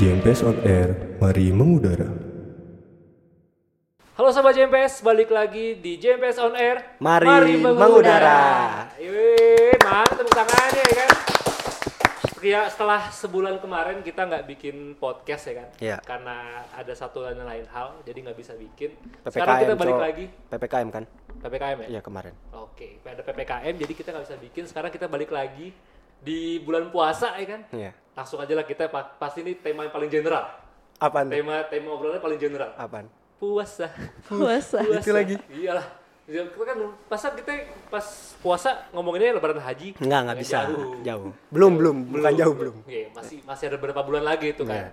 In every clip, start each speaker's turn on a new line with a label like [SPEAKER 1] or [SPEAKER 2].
[SPEAKER 1] JMPS on Air, mari mengudara.
[SPEAKER 2] Halo sobat JMPS, balik lagi di JMPS on Air.
[SPEAKER 3] Mari mengudara.
[SPEAKER 2] Yeay, mantap tepuk tangannya ya kan. Ya, setelah sebulan kemarin kita nggak bikin podcast ya kan,
[SPEAKER 3] Iya.
[SPEAKER 2] karena ada satu dan lain hal, jadi nggak bisa bikin.
[SPEAKER 3] PPKM,
[SPEAKER 2] Sekarang kita balik
[SPEAKER 3] Cok.
[SPEAKER 2] lagi
[SPEAKER 3] PPKM kan?
[SPEAKER 2] ppkm ya.
[SPEAKER 3] Iya kemarin.
[SPEAKER 2] Oke, ada ppkm, jadi kita nggak bisa bikin. Sekarang kita balik lagi di bulan puasa ya kan.
[SPEAKER 3] Iya.
[SPEAKER 2] Langsung aja lah kita pa- pasti ini tema yang paling general,
[SPEAKER 3] Apaan? tuh?
[SPEAKER 2] tema tema obrolannya paling general.
[SPEAKER 3] Apaan?
[SPEAKER 2] Puasa.
[SPEAKER 4] puasa
[SPEAKER 2] puasa.
[SPEAKER 3] Itu lagi.
[SPEAKER 2] Iyalah. Ya, Kita kan masa kita pas puasa ngomonginnya lebaran haji.
[SPEAKER 3] Enggak, enggak
[SPEAKER 2] Ya,
[SPEAKER 3] bisa. Jauh. Belum, belum, bukan jauh belum.
[SPEAKER 2] Iya, masih masih ada beberapa bulan lagi itu kan.
[SPEAKER 3] Iya.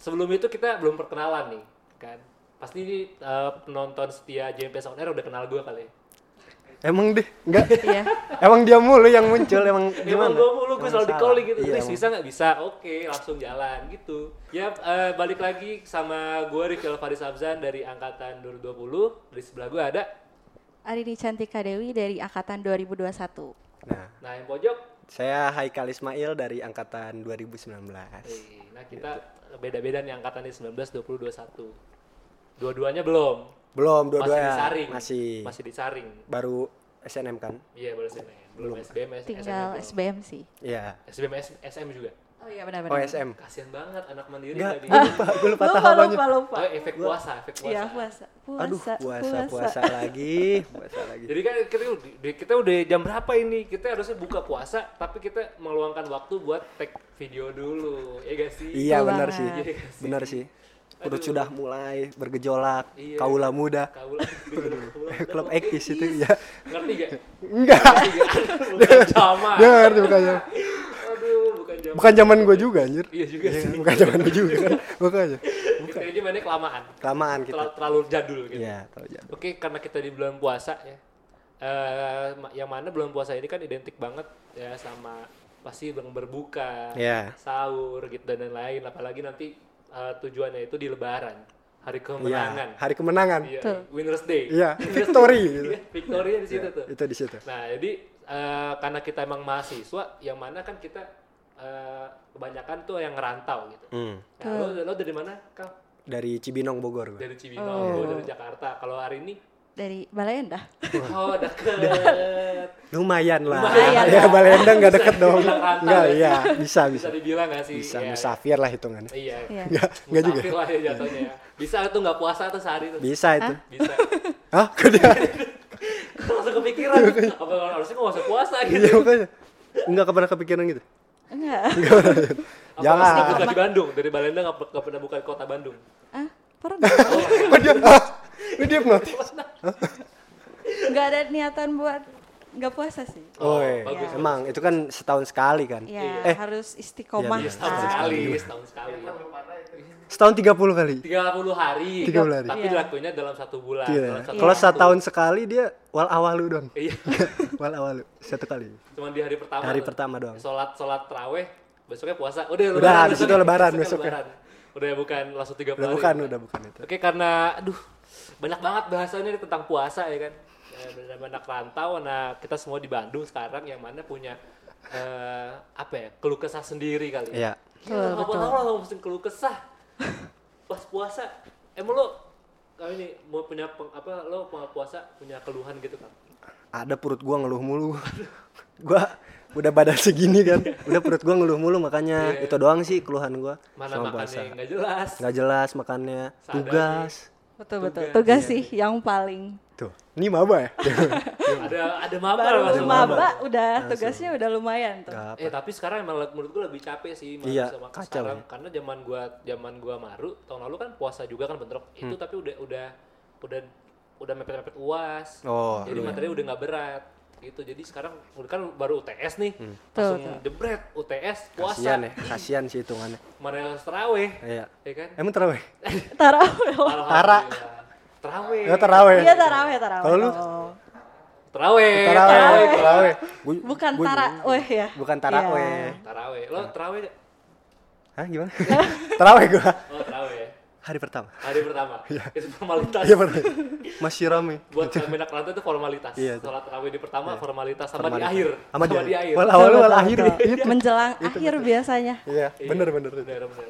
[SPEAKER 2] Sebelum itu kita belum perkenalan nih, kan. Pasti ini eh, penonton setia JMPS On Air udah kenal gue kali. ya.
[SPEAKER 3] Emang deh, enggak.
[SPEAKER 4] Iya.
[SPEAKER 3] emang dia mulu yang muncul, emang gimana?
[SPEAKER 2] Emang gue mulu gue
[SPEAKER 3] Emang
[SPEAKER 2] selalu di
[SPEAKER 3] salah.
[SPEAKER 2] calling gitu.
[SPEAKER 3] Iya,
[SPEAKER 2] Riz,
[SPEAKER 3] emang.
[SPEAKER 2] bisa nggak bisa? Oke, langsung jalan gitu. Ya eh, balik lagi sama gue Rifki Faris Abzan dari angkatan 2020. Di sebelah gue ada.
[SPEAKER 4] Arini Cantika Dewi dari angkatan 2021.
[SPEAKER 3] Nah,
[SPEAKER 2] Nah yang pojok
[SPEAKER 3] saya Haikal Ismail dari angkatan 2019.
[SPEAKER 2] Eh, Nah kita beda-beda nih angkatannya 19, 20, 21 Dua-duanya belum
[SPEAKER 3] Belum
[SPEAKER 2] Masih
[SPEAKER 3] dua-duanya.
[SPEAKER 2] disaring
[SPEAKER 3] Masih.
[SPEAKER 2] Masih disaring
[SPEAKER 3] baru SNM kan?
[SPEAKER 2] Iya baru SNM Belum SBM, S-
[SPEAKER 4] Tinggal
[SPEAKER 2] SNM
[SPEAKER 4] SBM sih.
[SPEAKER 3] Iya.
[SPEAKER 2] SBM, S- SM juga
[SPEAKER 4] Oh iya benar-benar.
[SPEAKER 3] Oh, SM.
[SPEAKER 2] Kasian banget anak mandiri
[SPEAKER 3] Enggak,
[SPEAKER 2] tadi
[SPEAKER 3] gue lupa, gue lupa
[SPEAKER 4] Lupa,
[SPEAKER 3] tahapannya.
[SPEAKER 4] lupa, lupa.
[SPEAKER 2] Oh, efek puasa, efek puasa.
[SPEAKER 4] Ah. Iya, puasa. Puasa.
[SPEAKER 3] Aduh, puasa, puasa lagi, puasa lagi.
[SPEAKER 2] Jadi kan kita, ud- di- kita udah jam berapa ini? Kita harusnya buka puasa, tapi kita meluangkan waktu buat tag video dulu, ya gak sih?
[SPEAKER 3] Iya
[SPEAKER 4] Betul
[SPEAKER 3] benar
[SPEAKER 4] banget.
[SPEAKER 3] sih,
[SPEAKER 2] Iya sih.
[SPEAKER 3] benar sih. Perut
[SPEAKER 2] Aduh.
[SPEAKER 3] sudah mulai bergejolak,
[SPEAKER 2] Iya.
[SPEAKER 3] kaula muda,
[SPEAKER 2] Kaul,
[SPEAKER 3] klub ekis itu ya.
[SPEAKER 2] Ngerti gak?
[SPEAKER 3] Enggak,
[SPEAKER 2] Bukan sama.
[SPEAKER 3] dia ngerti bukannya.
[SPEAKER 2] Aduh, bukan jam.
[SPEAKER 3] Bukan zaman gue juga anjir.
[SPEAKER 2] Iya juga sih.
[SPEAKER 3] Bukan zaman gue juga kan. Bukannya.
[SPEAKER 2] Kita aja mainnya kelamaan.
[SPEAKER 3] Kelamaan kita.
[SPEAKER 2] Terlalu, terlalu jadul gitu.
[SPEAKER 3] Iya, tahu jam.
[SPEAKER 2] Oke, karena kita di bulan puasa ya. Eh, ma- yang mana bulan puasa ini kan identik banget ya sama pasti yang berbuka,
[SPEAKER 3] Iya.
[SPEAKER 2] sahur gitu dan lain-lain. Apalagi nanti eh, tujuannya itu di lebaran, hari
[SPEAKER 3] Iya,
[SPEAKER 2] kemenangan.
[SPEAKER 3] hari kemenangan.
[SPEAKER 2] Iya,
[SPEAKER 4] Betul.
[SPEAKER 2] Winners Day.
[SPEAKER 3] Iya, victory gitu.
[SPEAKER 2] Iya, Victoria di situ tuh.
[SPEAKER 3] Itu di situ.
[SPEAKER 2] Nah, jadi eh, karena kita emang mahasiswa, yang mana kan kita eh, kebanyakan tuh yang ngerantau gitu.
[SPEAKER 3] Hmm.
[SPEAKER 2] Nah, lo, lo dari mana? Kau
[SPEAKER 3] Dari Cibinong Bogor gue.
[SPEAKER 2] dari Cibinong, gue dari Jakarta. Kalau hari ini,
[SPEAKER 4] Dari Balai Endah.
[SPEAKER 2] oh deket.
[SPEAKER 3] Lumayan lah.
[SPEAKER 4] Lumayan
[SPEAKER 3] ya
[SPEAKER 4] lah.
[SPEAKER 3] Balenda enggak deket dong.
[SPEAKER 2] Bisa dibilang
[SPEAKER 3] Enggak,
[SPEAKER 2] rantau ya.
[SPEAKER 3] iya, bisa
[SPEAKER 2] Bisa
[SPEAKER 3] bisa.
[SPEAKER 2] dibilang gak sih?
[SPEAKER 3] Bisa
[SPEAKER 2] Iya.
[SPEAKER 3] musafir lah hitungannya.
[SPEAKER 2] Iya.
[SPEAKER 4] Iya.
[SPEAKER 3] Enggak, enggak juga.
[SPEAKER 2] Musafir lah ya jatuhnya ya. Bisa tuh nggak puasa tuh sehari tuh.
[SPEAKER 3] Bisa itu. Iya,
[SPEAKER 2] Bisa.
[SPEAKER 3] Hah? Kok dia?
[SPEAKER 2] Langsung kepikiran. Apa kalau harusnya nggak usah puasa gitu.
[SPEAKER 3] Iya makanya. Enggak pernah kepikiran gitu.
[SPEAKER 4] Enggak.
[SPEAKER 2] Apa harusnya
[SPEAKER 3] Iya. Jangan.
[SPEAKER 2] bukan di Bandung? Dari Balenda nggak nggak pernah buka kota Bandung.
[SPEAKER 4] ah, pernah.
[SPEAKER 3] Kok dia? Ah, Ini dia hipnotis.
[SPEAKER 4] Enggak ada niatan buat enggak puasa sih.
[SPEAKER 2] Oh,
[SPEAKER 3] Oh,
[SPEAKER 2] bagus,
[SPEAKER 3] emang itu kan setahun sekali kan?
[SPEAKER 4] Ya,
[SPEAKER 3] Eh,
[SPEAKER 4] harus istiqomah. Ah,
[SPEAKER 3] Iya, iya,
[SPEAKER 2] Setahun
[SPEAKER 4] lah.
[SPEAKER 2] sekali, setahun sekali.
[SPEAKER 3] setahun 30 kali.
[SPEAKER 2] 30 hari.
[SPEAKER 3] 30 hari. Iya.
[SPEAKER 2] Tapi
[SPEAKER 4] Iya.
[SPEAKER 2] dilakuinnya dalam satu bulan.
[SPEAKER 3] Gila.
[SPEAKER 2] dalam Iya, satu
[SPEAKER 3] Kalau
[SPEAKER 2] waktu.
[SPEAKER 3] setahun sekali dia wal awalu dong.
[SPEAKER 2] Iya.
[SPEAKER 3] wal awalu satu kali.
[SPEAKER 2] Cuman di hari pertama.
[SPEAKER 3] Hari
[SPEAKER 2] tuh.
[SPEAKER 3] pertama doang.
[SPEAKER 2] Sholat sholat teraweh, besoknya puasa. Udah,
[SPEAKER 3] Udah, habis itu lebaran besoknya.
[SPEAKER 2] Udah ya, bukan langsung 30
[SPEAKER 3] Udah
[SPEAKER 2] hari.
[SPEAKER 3] bukan, udah bukan itu.
[SPEAKER 2] Oke, karena aduh banyak banget bahasannya nih tentang puasa ya kan. Eh, Banyak banyak rantau, nah kita semua di Bandung sekarang yang mana punya eh, apa ya keluh kesah sendiri kali. ya.
[SPEAKER 3] Iya.
[SPEAKER 4] Betul,
[SPEAKER 2] Iya, apa
[SPEAKER 4] betul.
[SPEAKER 2] tahu lah lo mesti keluh kesah. Pas puasa, emang lo kali ini mau punya peng- apa lo mau puasa punya keluhan gitu kan?
[SPEAKER 3] Ada perut gua ngeluh mulu. gua udah badan segini kan. Udah perut gua ngeluh mulu makanya itu doang sih keluhan gua
[SPEAKER 2] Iya, Mana
[SPEAKER 3] sama puasa. Nah,
[SPEAKER 2] makannya nggak jelas.
[SPEAKER 3] Nggak jelas makannya,
[SPEAKER 2] Sadar ya.
[SPEAKER 3] tugas.
[SPEAKER 4] Betul betul.
[SPEAKER 2] Tugas.
[SPEAKER 4] Tugas sih yang paling.
[SPEAKER 3] Tuh, ini maba ya?
[SPEAKER 2] ada ada maba
[SPEAKER 4] Baru
[SPEAKER 2] langsung.
[SPEAKER 4] maba udah tugasnya udah lumayan tuh.
[SPEAKER 3] Nggak
[SPEAKER 2] Eh tapi sekarang emang menurut gue lebih capek sih Mas,
[SPEAKER 3] Iya,
[SPEAKER 2] sama
[SPEAKER 3] kacau
[SPEAKER 2] sekarang
[SPEAKER 3] ya.
[SPEAKER 2] karena zaman gua zaman gua maru tahun lalu kan puasa juga kan bentrok
[SPEAKER 3] Hmm.
[SPEAKER 2] itu tapi udah udah udah udah mepet-mepet uas
[SPEAKER 3] Oh,
[SPEAKER 2] jadi
[SPEAKER 3] lu ya.
[SPEAKER 2] materinya udah nggak berat gitu jadi sekarang kan baru UTS nih
[SPEAKER 3] Hmm.
[SPEAKER 4] Tuh,
[SPEAKER 2] langsung jebret UTS puasa
[SPEAKER 3] Kasian ya, kasian sih hitungannya.
[SPEAKER 2] mana yang teraweh
[SPEAKER 3] Iya.
[SPEAKER 2] ya kan
[SPEAKER 3] Emang terawih?
[SPEAKER 4] Tarawih.
[SPEAKER 2] Tara teraweh
[SPEAKER 3] Ya terawih.
[SPEAKER 4] Iya tarawih tarawih.
[SPEAKER 3] Kalau lu?
[SPEAKER 4] Oh.
[SPEAKER 2] terawih
[SPEAKER 3] Tarawih, tarawih. Gua-
[SPEAKER 4] Bukan
[SPEAKER 3] gua-
[SPEAKER 4] tarawih ya.
[SPEAKER 3] Bukan tarawih.
[SPEAKER 4] Iya.
[SPEAKER 2] terawih lo terawih nggak?
[SPEAKER 3] Hah gimana? Terawih gua
[SPEAKER 2] oh terawih ya.
[SPEAKER 3] hari pertama.
[SPEAKER 2] hari pertama itu formalitas
[SPEAKER 3] Iya benar. Masih rame.
[SPEAKER 2] buat kami anak rantau itu formalitas.
[SPEAKER 3] Iya, itu.
[SPEAKER 2] Sholat tarawih di pertama formalitas sama di
[SPEAKER 3] Formalitas.
[SPEAKER 2] akhir.
[SPEAKER 3] Sama di akhir.
[SPEAKER 2] akhir.
[SPEAKER 3] Wal awal
[SPEAKER 4] Betul,
[SPEAKER 3] wal
[SPEAKER 4] betul,
[SPEAKER 3] akhir.
[SPEAKER 4] betul.
[SPEAKER 3] Itu.
[SPEAKER 4] Menjelang akhir biasanya.
[SPEAKER 3] Iya,
[SPEAKER 2] Iya,
[SPEAKER 3] benar benar.
[SPEAKER 2] benar, benar.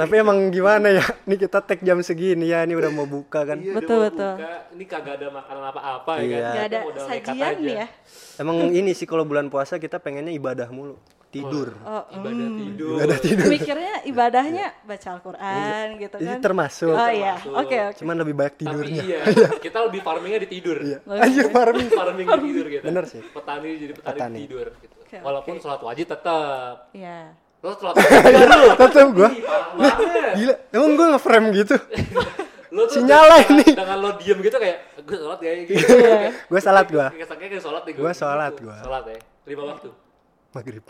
[SPEAKER 3] Tapi emang gimana ya? Ini kita tag jam segini ya, ini udah mau buka kan.
[SPEAKER 2] Iya,
[SPEAKER 4] Betul,
[SPEAKER 2] udah mau
[SPEAKER 4] betul.
[SPEAKER 2] buka. Ini kagak ada makanan apa-apa ya
[SPEAKER 3] Iya.
[SPEAKER 2] kan.
[SPEAKER 4] Gak ada
[SPEAKER 2] Kita modal nekat
[SPEAKER 4] sajian
[SPEAKER 2] aja.
[SPEAKER 4] nih ya.
[SPEAKER 3] Emang ini sih kalau bulan puasa kita pengennya ibadah mulu, tidur.
[SPEAKER 4] Oh, mm.
[SPEAKER 2] Ibadah
[SPEAKER 3] Hmm.
[SPEAKER 2] tidur.
[SPEAKER 4] mikirnya ibadahnya baca Al-Quran
[SPEAKER 3] Itu
[SPEAKER 4] gitu kan.
[SPEAKER 3] Iya. termasuk.
[SPEAKER 4] Oh iya, oke oke.
[SPEAKER 3] Cuman lebih banyak
[SPEAKER 2] Tapi
[SPEAKER 3] tidurnya.
[SPEAKER 2] iya, kita lebih farmingnya di tidur.
[SPEAKER 3] Anjir farming.
[SPEAKER 2] farming di tidur gitu.
[SPEAKER 3] Bener sih.
[SPEAKER 2] Petani jadi petani,
[SPEAKER 3] Petani.
[SPEAKER 2] di tidur gitu.
[SPEAKER 4] Oke,
[SPEAKER 2] Walaupun
[SPEAKER 4] oke.
[SPEAKER 2] sholat wajib tetap.
[SPEAKER 4] Iya.
[SPEAKER 2] Lo sholat wajib
[SPEAKER 3] Iya.
[SPEAKER 2] baru.
[SPEAKER 3] Tetep gua.
[SPEAKER 2] Ih, parah banget.
[SPEAKER 3] Gila, emang gue nge-frame gitu.
[SPEAKER 2] Lo tuh
[SPEAKER 3] Sinyalnya
[SPEAKER 2] dengan-
[SPEAKER 3] ini.
[SPEAKER 2] Dengan lo diem gitu kayak gue sholat kayak gitu.
[SPEAKER 3] gue salat gue.
[SPEAKER 2] Kayak kayak kayak sholat nih
[SPEAKER 3] Gua sholat, gua.
[SPEAKER 2] Sholat ya. Lima waktu.
[SPEAKER 3] Maghrib.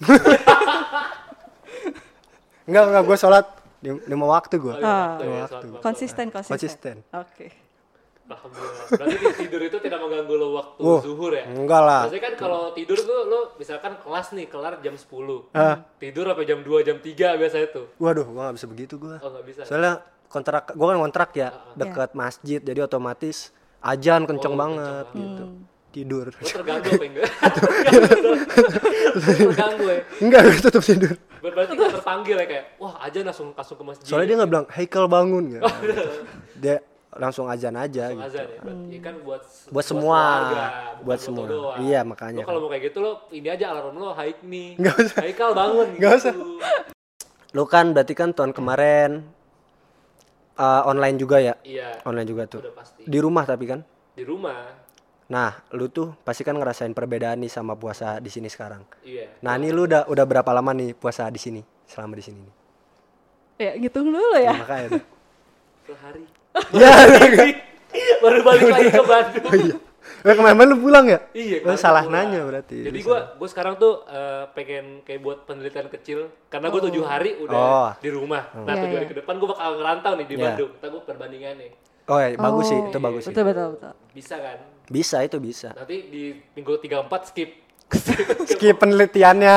[SPEAKER 3] enggak, enggak gue salat lima lima waktu gue.
[SPEAKER 2] lima
[SPEAKER 4] Ah.
[SPEAKER 2] waktu ya,
[SPEAKER 3] Lima
[SPEAKER 2] sholat
[SPEAKER 3] waktu.
[SPEAKER 2] lima
[SPEAKER 4] Konsisten konsisten.
[SPEAKER 3] Konsisten.
[SPEAKER 4] Oke.
[SPEAKER 2] Alhamdulillah. Berarti di tidur itu tidak mengganggu lo waktu
[SPEAKER 3] Wah,
[SPEAKER 2] zuhur ya?
[SPEAKER 3] Oh. enggak lah.
[SPEAKER 2] Maksudnya kan kalau tidur tuh lo misalkan kelas nih kelar jam 10.
[SPEAKER 3] Ah.
[SPEAKER 2] Tidur sampai jam 2, jam 3 biasanya tuh.
[SPEAKER 3] Waduh, gue nggak bisa begitu gue.
[SPEAKER 2] Oh nggak bisa. Ah,
[SPEAKER 3] Soalnya kontrak, gue kan kontrak ya dekat masjid, jadi otomatis
[SPEAKER 2] Oh,
[SPEAKER 3] ajan kenceng banget gitu. Tidur.
[SPEAKER 2] Lo terganggu apa enggak? Terganggu. terganggu ya.
[SPEAKER 3] enggak, gue tetap tidur.
[SPEAKER 2] Ber- Berarti gak terpanggil ya kayak, wah aja langsung langsung ke masjid.
[SPEAKER 3] Soalnya dia nggak bilang, Haikal bangun gitu.
[SPEAKER 2] Oh, iya.
[SPEAKER 3] Dia langsung ajan aja. Gitu.
[SPEAKER 2] Azan ya, berarti
[SPEAKER 4] Hmm.
[SPEAKER 2] Ya kan buat
[SPEAKER 3] Buat semua.
[SPEAKER 2] keluarga, bukan
[SPEAKER 3] Buat
[SPEAKER 2] lo
[SPEAKER 3] semua.
[SPEAKER 2] doang.
[SPEAKER 3] Iya, makanya.
[SPEAKER 2] Lo kalau mau kayak gitu lo ini aja alarm lo haik nih.
[SPEAKER 3] Nggak usah.
[SPEAKER 2] Haikal bangun.
[SPEAKER 3] Nggak
[SPEAKER 2] gitu.
[SPEAKER 3] usah. Lo kan berarti kan tahun kemarin eh, online juga ya?
[SPEAKER 2] Iya.
[SPEAKER 3] Online juga tuh.
[SPEAKER 2] Udah pasti.
[SPEAKER 3] Di rumah tapi kan?
[SPEAKER 2] Di rumah.
[SPEAKER 3] Nah, lu tuh pasti kan ngerasain perbedaan nih sama puasa di sini sekarang.
[SPEAKER 2] Iya.
[SPEAKER 3] Nah, ini lu udah udah berapa lama nih puasa di sini? Selama di sini nih.
[SPEAKER 4] Ya ngitung dulu ya.
[SPEAKER 3] Makanya. tuh.
[SPEAKER 2] Sehari.
[SPEAKER 3] Ya,
[SPEAKER 2] Baru balik lagi ke Bandung.
[SPEAKER 3] iya. Eh, kemarin lu pulang ya?
[SPEAKER 2] Iya,
[SPEAKER 3] Lu
[SPEAKER 2] kemarin
[SPEAKER 3] salah
[SPEAKER 2] gua
[SPEAKER 3] nanya
[SPEAKER 2] pulang.
[SPEAKER 3] berarti.
[SPEAKER 2] Jadi
[SPEAKER 3] Lu
[SPEAKER 2] gue gue sekarang tuh eh, pengen kayak buat penelitian kecil karena gue tujuh hari udah
[SPEAKER 3] Oh.
[SPEAKER 2] di rumah. Nah
[SPEAKER 4] Iya,
[SPEAKER 2] tujuh hari
[SPEAKER 4] iya.
[SPEAKER 2] ke depan gue bakal ngerantau nih di
[SPEAKER 3] Iya.
[SPEAKER 2] Bandung. Ntar gue perbandingan nih
[SPEAKER 3] salah. Oh, iya, bagus sih,
[SPEAKER 4] Oh.
[SPEAKER 3] itu bagus sih.
[SPEAKER 4] Betul betul betul.
[SPEAKER 2] bisa kan?
[SPEAKER 3] Bisa itu bisa.
[SPEAKER 2] Nanti di minggu tiga empat skip.
[SPEAKER 3] Skip penelitiannya.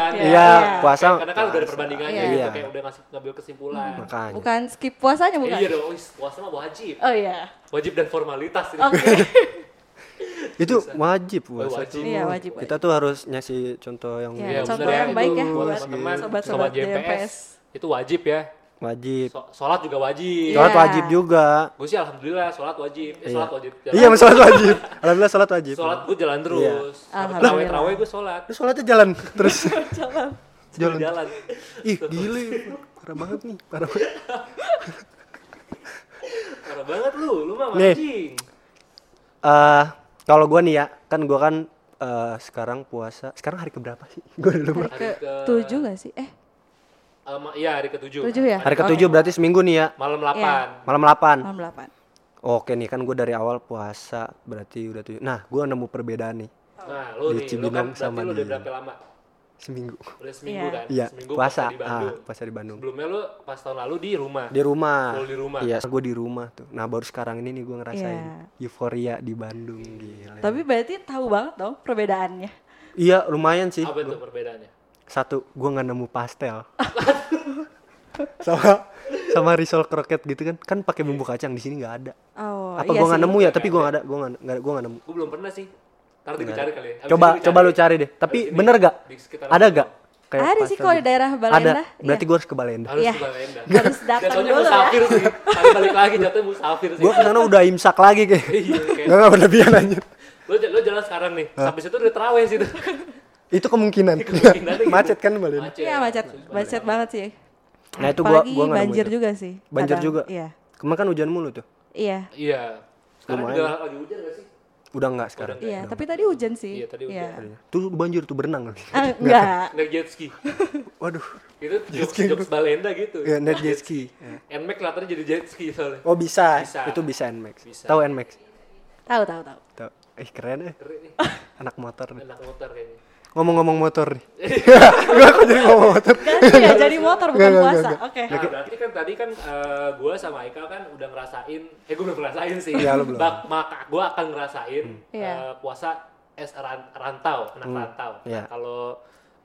[SPEAKER 2] Penelitiannya.
[SPEAKER 3] Iya,
[SPEAKER 4] Iya.
[SPEAKER 3] puasa.
[SPEAKER 2] Karena kan udah ada perbandingannya
[SPEAKER 3] Iya.
[SPEAKER 2] gitu kayak udah ngasih ngambil kesimpulan.
[SPEAKER 3] Makanya.
[SPEAKER 4] Bukan skip puasanya
[SPEAKER 2] Eh,
[SPEAKER 4] bukan.
[SPEAKER 2] iya dong, wis, puasa mah wajib.
[SPEAKER 4] Oh iya.
[SPEAKER 2] Wajib dan formalitas Iya, ini.
[SPEAKER 4] Oke.
[SPEAKER 3] Itu wajib puasa.
[SPEAKER 2] Oh, wajib.
[SPEAKER 4] Iya wajib.
[SPEAKER 3] Kita tuh harus ngasih contoh yang
[SPEAKER 4] Iya,
[SPEAKER 2] bener
[SPEAKER 4] contoh yang baik ya
[SPEAKER 2] itu
[SPEAKER 4] buat
[SPEAKER 2] buat teman
[SPEAKER 4] sobat-sobat DMPS.
[SPEAKER 2] Itu wajib ya.
[SPEAKER 3] wajib.
[SPEAKER 2] So- sholat juga wajib.
[SPEAKER 3] Sholat
[SPEAKER 4] Iya.
[SPEAKER 3] wajib juga.
[SPEAKER 2] Gue sih alhamdulillah sholat wajib. Eh, sholat wajib. Jalan.
[SPEAKER 3] Iya, sholat wajib. Alhamdulillah sholat wajib.
[SPEAKER 2] Sholat gue jalan terus. Habis
[SPEAKER 4] Alhamdulillah.
[SPEAKER 2] Terawih terawih gue sholat.
[SPEAKER 3] Terus sholatnya jalan terus.
[SPEAKER 2] Jalan. jalan.
[SPEAKER 3] Ih, gile. Parah banget nih, parah banget.
[SPEAKER 2] Parah banget lu, lu mah
[SPEAKER 3] Nih.
[SPEAKER 2] mancing.
[SPEAKER 3] Eh, kalau gua nih ya, kan gua kan eh, sekarang puasa. Sekarang hari keberapa sih? Gua udah lupa.
[SPEAKER 4] Hari ke
[SPEAKER 2] ke-
[SPEAKER 4] tujuh gak sih? Eh
[SPEAKER 2] Ama- iya hari ketujuh.
[SPEAKER 4] tujuh ya?
[SPEAKER 3] Hari ketujuh berarti seminggu nih ya.
[SPEAKER 2] Malam delapan.
[SPEAKER 3] Malam 8.
[SPEAKER 4] Malam delapan.
[SPEAKER 3] Iya. Oke nih kan gue dari awal puasa berarti udah tujuh. Nah, gua nemu perbedaan nih
[SPEAKER 4] Iya.
[SPEAKER 2] Nah lu nih, lu
[SPEAKER 3] Di
[SPEAKER 2] kan
[SPEAKER 3] Cibinong
[SPEAKER 2] berarti
[SPEAKER 3] sama
[SPEAKER 2] lu udah
[SPEAKER 3] di-
[SPEAKER 2] berapa lama?
[SPEAKER 3] seminggu.
[SPEAKER 2] Udah seminggu
[SPEAKER 4] Iya.
[SPEAKER 2] kan?
[SPEAKER 3] Iya,
[SPEAKER 2] Seminggu
[SPEAKER 3] puasa.
[SPEAKER 2] di Bandung.
[SPEAKER 3] Ah, puasa di Bandung.
[SPEAKER 2] Sebelumnya lu pas tahun lalu di rumah.
[SPEAKER 3] Di rumah.
[SPEAKER 2] Lu di rumah.
[SPEAKER 3] Iya, gue di rumah tuh. Nah, baru sekarang ini nih gue ngerasain euforia di Bandung gila.
[SPEAKER 4] Tapi berarti tahu banget dong perbedaannya.
[SPEAKER 3] Iya, lumayan sih.
[SPEAKER 2] Apa itu perbedaannya?
[SPEAKER 3] Satu, gue nggak nemu pastel. sama sama risol kroket gitu kan. Kan pakai bumbu kacang di sini nggak ada.
[SPEAKER 4] Oh
[SPEAKER 3] Apa
[SPEAKER 4] iya
[SPEAKER 3] gue nggak
[SPEAKER 4] sih.
[SPEAKER 3] nemu ya? Tapi gue nggak ada. Gue nggak gue nggak nemu.
[SPEAKER 2] Gue belum pernah sih. Ntar dicari kali ya. Abis
[SPEAKER 3] Coba
[SPEAKER 2] ini
[SPEAKER 3] coba lu cari deh. Tapi
[SPEAKER 2] Abis ini
[SPEAKER 3] bener gak?
[SPEAKER 2] di sekitaran
[SPEAKER 3] Ada
[SPEAKER 2] Bandung.
[SPEAKER 3] gak? Kayak
[SPEAKER 4] Ada sih
[SPEAKER 3] pastel
[SPEAKER 4] kalau di
[SPEAKER 3] gitu.
[SPEAKER 4] daerah Balenda.
[SPEAKER 3] Ada. Berarti gue harus ke Balenda.
[SPEAKER 2] Harus
[SPEAKER 4] Iya.
[SPEAKER 2] ke Balenda.
[SPEAKER 4] Harus datang
[SPEAKER 2] Jatuhnya
[SPEAKER 4] dulu ya.
[SPEAKER 2] musafir sih. Harus balik lagi jatuhnya musafir sih.
[SPEAKER 3] Gue kesana udah imsak lagi kayak.
[SPEAKER 2] Iya, kayak-
[SPEAKER 3] Gak nggak berlebihan anjir.
[SPEAKER 2] Lo, j- lo jalan sekarang nih. Sampai situ udah terawih sih. tuh.
[SPEAKER 3] Itu kemungkinan.
[SPEAKER 2] Kemungkinannya gitu.
[SPEAKER 3] Macet kan Balenda.
[SPEAKER 4] Iya macet, macet banget sih.
[SPEAKER 3] Nah, itu gua-
[SPEAKER 4] Apalagi
[SPEAKER 3] gua nggak nemu
[SPEAKER 4] banjir
[SPEAKER 3] itu.
[SPEAKER 4] juga sih.
[SPEAKER 3] Banjir
[SPEAKER 4] kadang.
[SPEAKER 3] juga.
[SPEAKER 4] Iya.
[SPEAKER 3] Kemarin kan hujan mulu tuh.
[SPEAKER 4] Iya.
[SPEAKER 2] Iya. Sekarang
[SPEAKER 3] Lumayan.
[SPEAKER 2] juga lagi hujan gak sih?
[SPEAKER 3] Udah nggak sekarang?
[SPEAKER 4] Iya, tapi tadi hujan sih.
[SPEAKER 2] Iya, tadi hujan.
[SPEAKER 4] Iya.
[SPEAKER 3] Tuh banjir tuh berenang.
[SPEAKER 4] Ah, enggak.
[SPEAKER 2] Naik jet ski.
[SPEAKER 3] Waduh.
[SPEAKER 2] Itu jokes, jokes Balenda gitu.
[SPEAKER 3] Ya, net jet ski. Ya.
[SPEAKER 2] Nmax latarnya jadi jet ski soalnya.
[SPEAKER 3] Oh bisa.
[SPEAKER 2] Bisa.
[SPEAKER 3] Itu bisa Nmax.
[SPEAKER 2] Bisa.
[SPEAKER 3] Tahu Nmax?
[SPEAKER 4] Tahu tahu tahu.
[SPEAKER 3] Tahu. Eh keren eh.
[SPEAKER 2] Keren nih.
[SPEAKER 3] Anak motor nih.
[SPEAKER 2] Anak motor kayaknya.
[SPEAKER 3] Ngomong-ngomong motor nih. Gua kok jadi ngomong motor.
[SPEAKER 4] Ganti ya jadi motor bukan
[SPEAKER 3] Enggak, enggak,
[SPEAKER 4] puasa.
[SPEAKER 3] enggak.
[SPEAKER 4] Oke.
[SPEAKER 2] Nah, berarti kan tadi kan gue sama Haikal kan udah ngerasain, eh gue belum ngerasain sih.
[SPEAKER 3] Iya, lu belum. Hmm.
[SPEAKER 2] Bak- maka gue akan ngerasain
[SPEAKER 4] Iya.
[SPEAKER 2] eh, puasa es ran- rantau, anak rantau. Nah,
[SPEAKER 3] Iya.
[SPEAKER 2] Kalau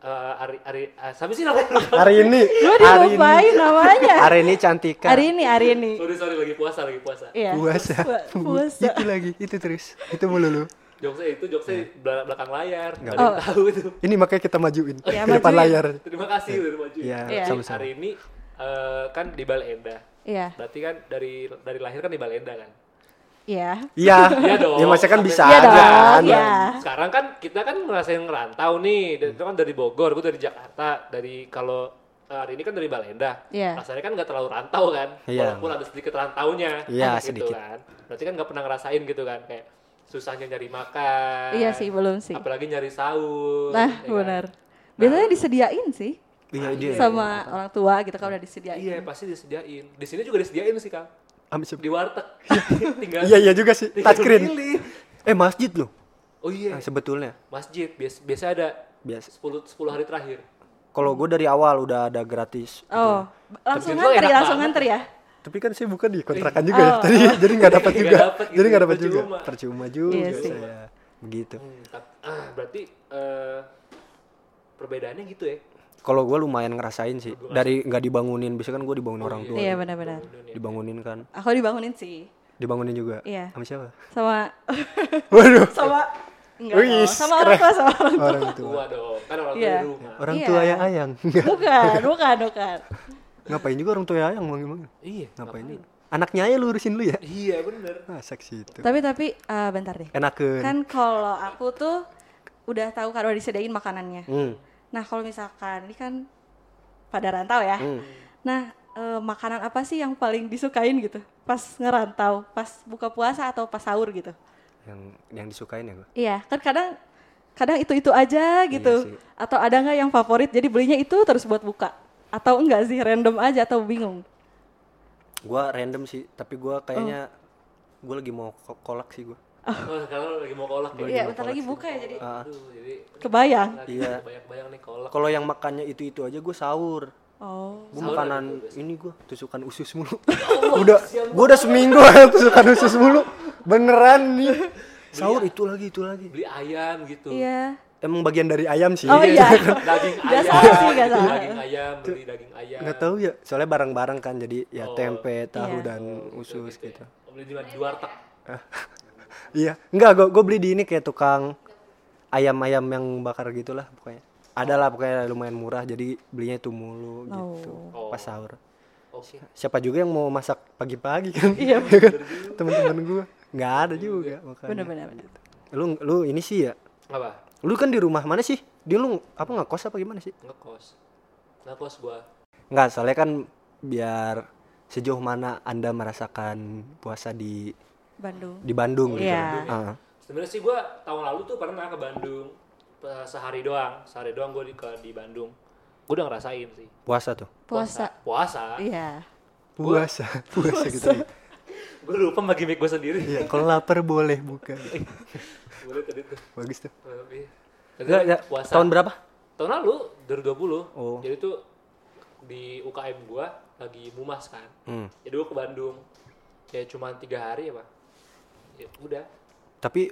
[SPEAKER 2] eh, hari hari eh, siapa sih namanya?
[SPEAKER 3] Hari ini.
[SPEAKER 4] Gue
[SPEAKER 3] Hari ini.
[SPEAKER 4] dilupain namanya.
[SPEAKER 3] Hari ini cantika.
[SPEAKER 4] Hari ini, hari ini.
[SPEAKER 2] sorry sorry lagi puasa lagi puasa.
[SPEAKER 3] Eh.
[SPEAKER 4] Iya.
[SPEAKER 3] Puasa.
[SPEAKER 4] Pu- Puasa.
[SPEAKER 3] itu lagi. Itu terus. Itu mulu lu.
[SPEAKER 2] Jokesnya itu
[SPEAKER 3] Iya.
[SPEAKER 2] jokesnya bel- belakang layar, nggak ada
[SPEAKER 4] ada.
[SPEAKER 2] yang tahu itu.
[SPEAKER 3] Ini makanya kita majuin.
[SPEAKER 4] Iya,
[SPEAKER 3] Ke depan
[SPEAKER 4] majuin.
[SPEAKER 3] layar.
[SPEAKER 2] Terima kasih udah maju.
[SPEAKER 3] Iya,
[SPEAKER 4] Iya.
[SPEAKER 2] Jadi
[SPEAKER 3] sama-sama.
[SPEAKER 2] Hari ini eh, kan di Balenda.
[SPEAKER 4] Iya.
[SPEAKER 2] Berarti kan dari dari lahir kan di Balenda kan.
[SPEAKER 4] Iya.
[SPEAKER 3] Iya.
[SPEAKER 2] Iya dong.
[SPEAKER 3] Ya maksudnya kan bisa
[SPEAKER 4] Iya
[SPEAKER 3] aja kan.
[SPEAKER 4] dong, iya.
[SPEAKER 2] Sekarang kan kita kan ngerasain ngerantau nih. Dan Itu kan dari Bogor, gue dari Jakarta. Dari kalau hari ini kan dari Balenda.
[SPEAKER 4] Iya.
[SPEAKER 2] Rasanya kan nggak terlalu rantau kan.
[SPEAKER 3] Iya.
[SPEAKER 2] Walaupun ada sedikit rantaunya.
[SPEAKER 3] Iya,
[SPEAKER 2] gitu
[SPEAKER 3] sedikit.
[SPEAKER 2] Kan. Berarti kan nggak pernah ngerasain gitu kan. Kayak susahnya nyari makan.
[SPEAKER 4] Iya sih, belum sih.
[SPEAKER 2] Apalagi nyari sahur. ya
[SPEAKER 4] Nah,
[SPEAKER 2] kan?
[SPEAKER 4] benar. Biasanya
[SPEAKER 2] Nah.
[SPEAKER 4] disediain sih
[SPEAKER 3] Iya dia.
[SPEAKER 4] sama orang tua gitu kan udah disediain.
[SPEAKER 2] Iya, pasti disediain. Di sini juga disediain sih, Kang.
[SPEAKER 3] Habis
[SPEAKER 2] Di
[SPEAKER 3] itu-
[SPEAKER 2] warteg. Tinggal.
[SPEAKER 3] Iya iya juga sih.
[SPEAKER 2] tinggal
[SPEAKER 3] Touchscreen.
[SPEAKER 2] pilih.
[SPEAKER 3] Eh masjid loh.
[SPEAKER 2] Oh iya.
[SPEAKER 3] Nah, sebetulnya
[SPEAKER 2] Masjid bias, biasa ada
[SPEAKER 3] biasa.
[SPEAKER 2] 10 10 hari terakhir.
[SPEAKER 3] Kalau gue dari awal udah ada gratis.
[SPEAKER 4] Oh, langsung
[SPEAKER 2] Tapi itu
[SPEAKER 4] ngantri,
[SPEAKER 2] enak
[SPEAKER 4] langsung
[SPEAKER 2] banget.
[SPEAKER 4] ngantri ya.
[SPEAKER 3] Tapi kan saya bukan di kontrakan juga ya. Tadi jadi nggak dapat
[SPEAKER 2] Nggak
[SPEAKER 3] juga.
[SPEAKER 2] dapat gitu,
[SPEAKER 3] Jadi nggak dapat juga.
[SPEAKER 2] percuma.
[SPEAKER 3] Percuma juga
[SPEAKER 4] Iya sih.
[SPEAKER 3] saya. Gitu. Begitu.
[SPEAKER 2] Hmm, tap- ah, berarti eh, perbedaannya gitu ya.
[SPEAKER 3] Kalau gue lumayan ngerasain sih. Dari nggak dibangunin. Biasanya kan gue dibangunin orang tua.
[SPEAKER 4] Iya, benar-benar.
[SPEAKER 3] Dibangunin kan.
[SPEAKER 4] Aku dibangunin sih
[SPEAKER 3] Dibangunin juga.
[SPEAKER 4] Iya.
[SPEAKER 3] Sama siapa?
[SPEAKER 4] sama
[SPEAKER 3] Waduh.
[SPEAKER 4] sama enggak dong,
[SPEAKER 3] Wih,
[SPEAKER 4] sama orang tua sama orang tua.
[SPEAKER 3] Orang tua.
[SPEAKER 2] Tua dong, kan orang tua
[SPEAKER 4] Iya.
[SPEAKER 2] di rumah.
[SPEAKER 3] Orang
[SPEAKER 4] Iya.
[SPEAKER 3] tua yang ayang.
[SPEAKER 4] Bukan, bukan, bukan.
[SPEAKER 3] Ngapain juga orang tua yang ayang manggil-manggil.
[SPEAKER 2] Iya.
[SPEAKER 3] Ngapain? juga? Anaknya aja lurusin lu ya.
[SPEAKER 2] Iya, bener.
[SPEAKER 3] Masa ke situ.
[SPEAKER 4] Tapi tapi eh, bentar deh.
[SPEAKER 3] Enakeun.
[SPEAKER 4] Kan kalau aku tuh udah tahu kan udah disediain makanannya.
[SPEAKER 3] Hmm.
[SPEAKER 4] Nah, kalau misalkan ini kan pada rantau ya.
[SPEAKER 3] Hmm.
[SPEAKER 4] Nah, eh, makanan apa sih yang paling disukain gitu? Pas ngerantau, pas buka puasa atau pas sahur gitu?
[SPEAKER 3] Yang yang disukain ya gue.
[SPEAKER 4] Iya, kan kadang kadang itu-itu aja gitu.
[SPEAKER 3] Iya sih.
[SPEAKER 4] atau ada nggak yang favorit jadi belinya itu terus buat buka? Atau enggak sih random aja atau bingung?
[SPEAKER 3] Gue random sih, tapi gue kayaknya
[SPEAKER 4] Oh.
[SPEAKER 3] gue lagi mau ko- kolak sih gue.
[SPEAKER 4] Ah.
[SPEAKER 2] Oh, sekarang lagi mau kolak ya.
[SPEAKER 4] Iya, bentar lagi buka ya jadi
[SPEAKER 2] Aduh, jadi
[SPEAKER 4] kebayang.
[SPEAKER 2] lagi
[SPEAKER 3] Iya.
[SPEAKER 2] banyak-banyak nih kolak.
[SPEAKER 3] Kalau yang makannya itu itu aja gue sahur.
[SPEAKER 4] Oh.
[SPEAKER 3] Gue makanan ini gue tusukan usus mulu. udah, gue udah seminggu tusukan usus mulu. Beneran nih. Sahur itu lagi itu lagi.
[SPEAKER 2] Beli ayam gitu.
[SPEAKER 4] Iya.
[SPEAKER 3] Emang bagian dari ayam sih.
[SPEAKER 4] Oh iya.
[SPEAKER 2] Daging
[SPEAKER 4] Nggak
[SPEAKER 2] ayam.
[SPEAKER 4] salah sih, nggak
[SPEAKER 2] gitu,
[SPEAKER 4] salah.
[SPEAKER 2] Daging ayam, beli daging ayam.
[SPEAKER 3] Nggak tahu ya, soalnya bareng-bareng kan jadi ya tempe, tahu
[SPEAKER 4] Iya.
[SPEAKER 3] dan usus gitu.
[SPEAKER 2] Beli di mana? Di warteg.
[SPEAKER 3] Iya, enggak gue gue beli di ini kayak tukang ayam-ayam yang bakar gitulah pokoknya. Ada lah pokoknya lumayan murah jadi belinya itu mulu gitu
[SPEAKER 2] Oh.
[SPEAKER 3] pas sahur.
[SPEAKER 2] Oke.
[SPEAKER 3] Siapa juga yang mau masak pagi-pagi kan?
[SPEAKER 4] Iya,
[SPEAKER 3] Temen-temen gue nggak ada juga makanya.
[SPEAKER 4] Benar-benar. benar.
[SPEAKER 3] Lu lu ini sih ya.
[SPEAKER 2] Apa?
[SPEAKER 3] Lu kan di rumah mana sih? Di lu apa ngekos apa gimana sih?
[SPEAKER 2] Ngekos. Ngekos gua.
[SPEAKER 3] Enggak, soalnya kan biar sejauh mana Anda merasakan puasa di
[SPEAKER 4] Bandung.
[SPEAKER 3] di Bandung gitu.
[SPEAKER 4] Iya.
[SPEAKER 3] Ah.
[SPEAKER 2] Sebenarnya sih gue tahun lalu tuh pernah ke Bandung eh, sehari doang, sehari doang gue di ke- di Bandung. Gue udah ngerasain sih.
[SPEAKER 3] puasa tuh.
[SPEAKER 4] Puasa.
[SPEAKER 2] Puasa.
[SPEAKER 4] Iya.
[SPEAKER 3] Puasa, puasa gitu.
[SPEAKER 2] Gue lupa bagi mic gue sendiri.
[SPEAKER 3] Iya, kalau lapar boleh buka.
[SPEAKER 2] Boleh tadi tuh.
[SPEAKER 3] Bagus tuh.
[SPEAKER 2] Tapi
[SPEAKER 3] Enggak, enggak.
[SPEAKER 2] puasa.
[SPEAKER 3] Tahun berapa?
[SPEAKER 2] Tahun lalu 2020.
[SPEAKER 3] Oh.
[SPEAKER 2] Jadi tuh di UKM gue lagi mumas kan.
[SPEAKER 3] Hmm.
[SPEAKER 2] Jadi gue ke Bandung. Kayak cuma tiga hari ya pak. Ya udah.
[SPEAKER 3] Tapi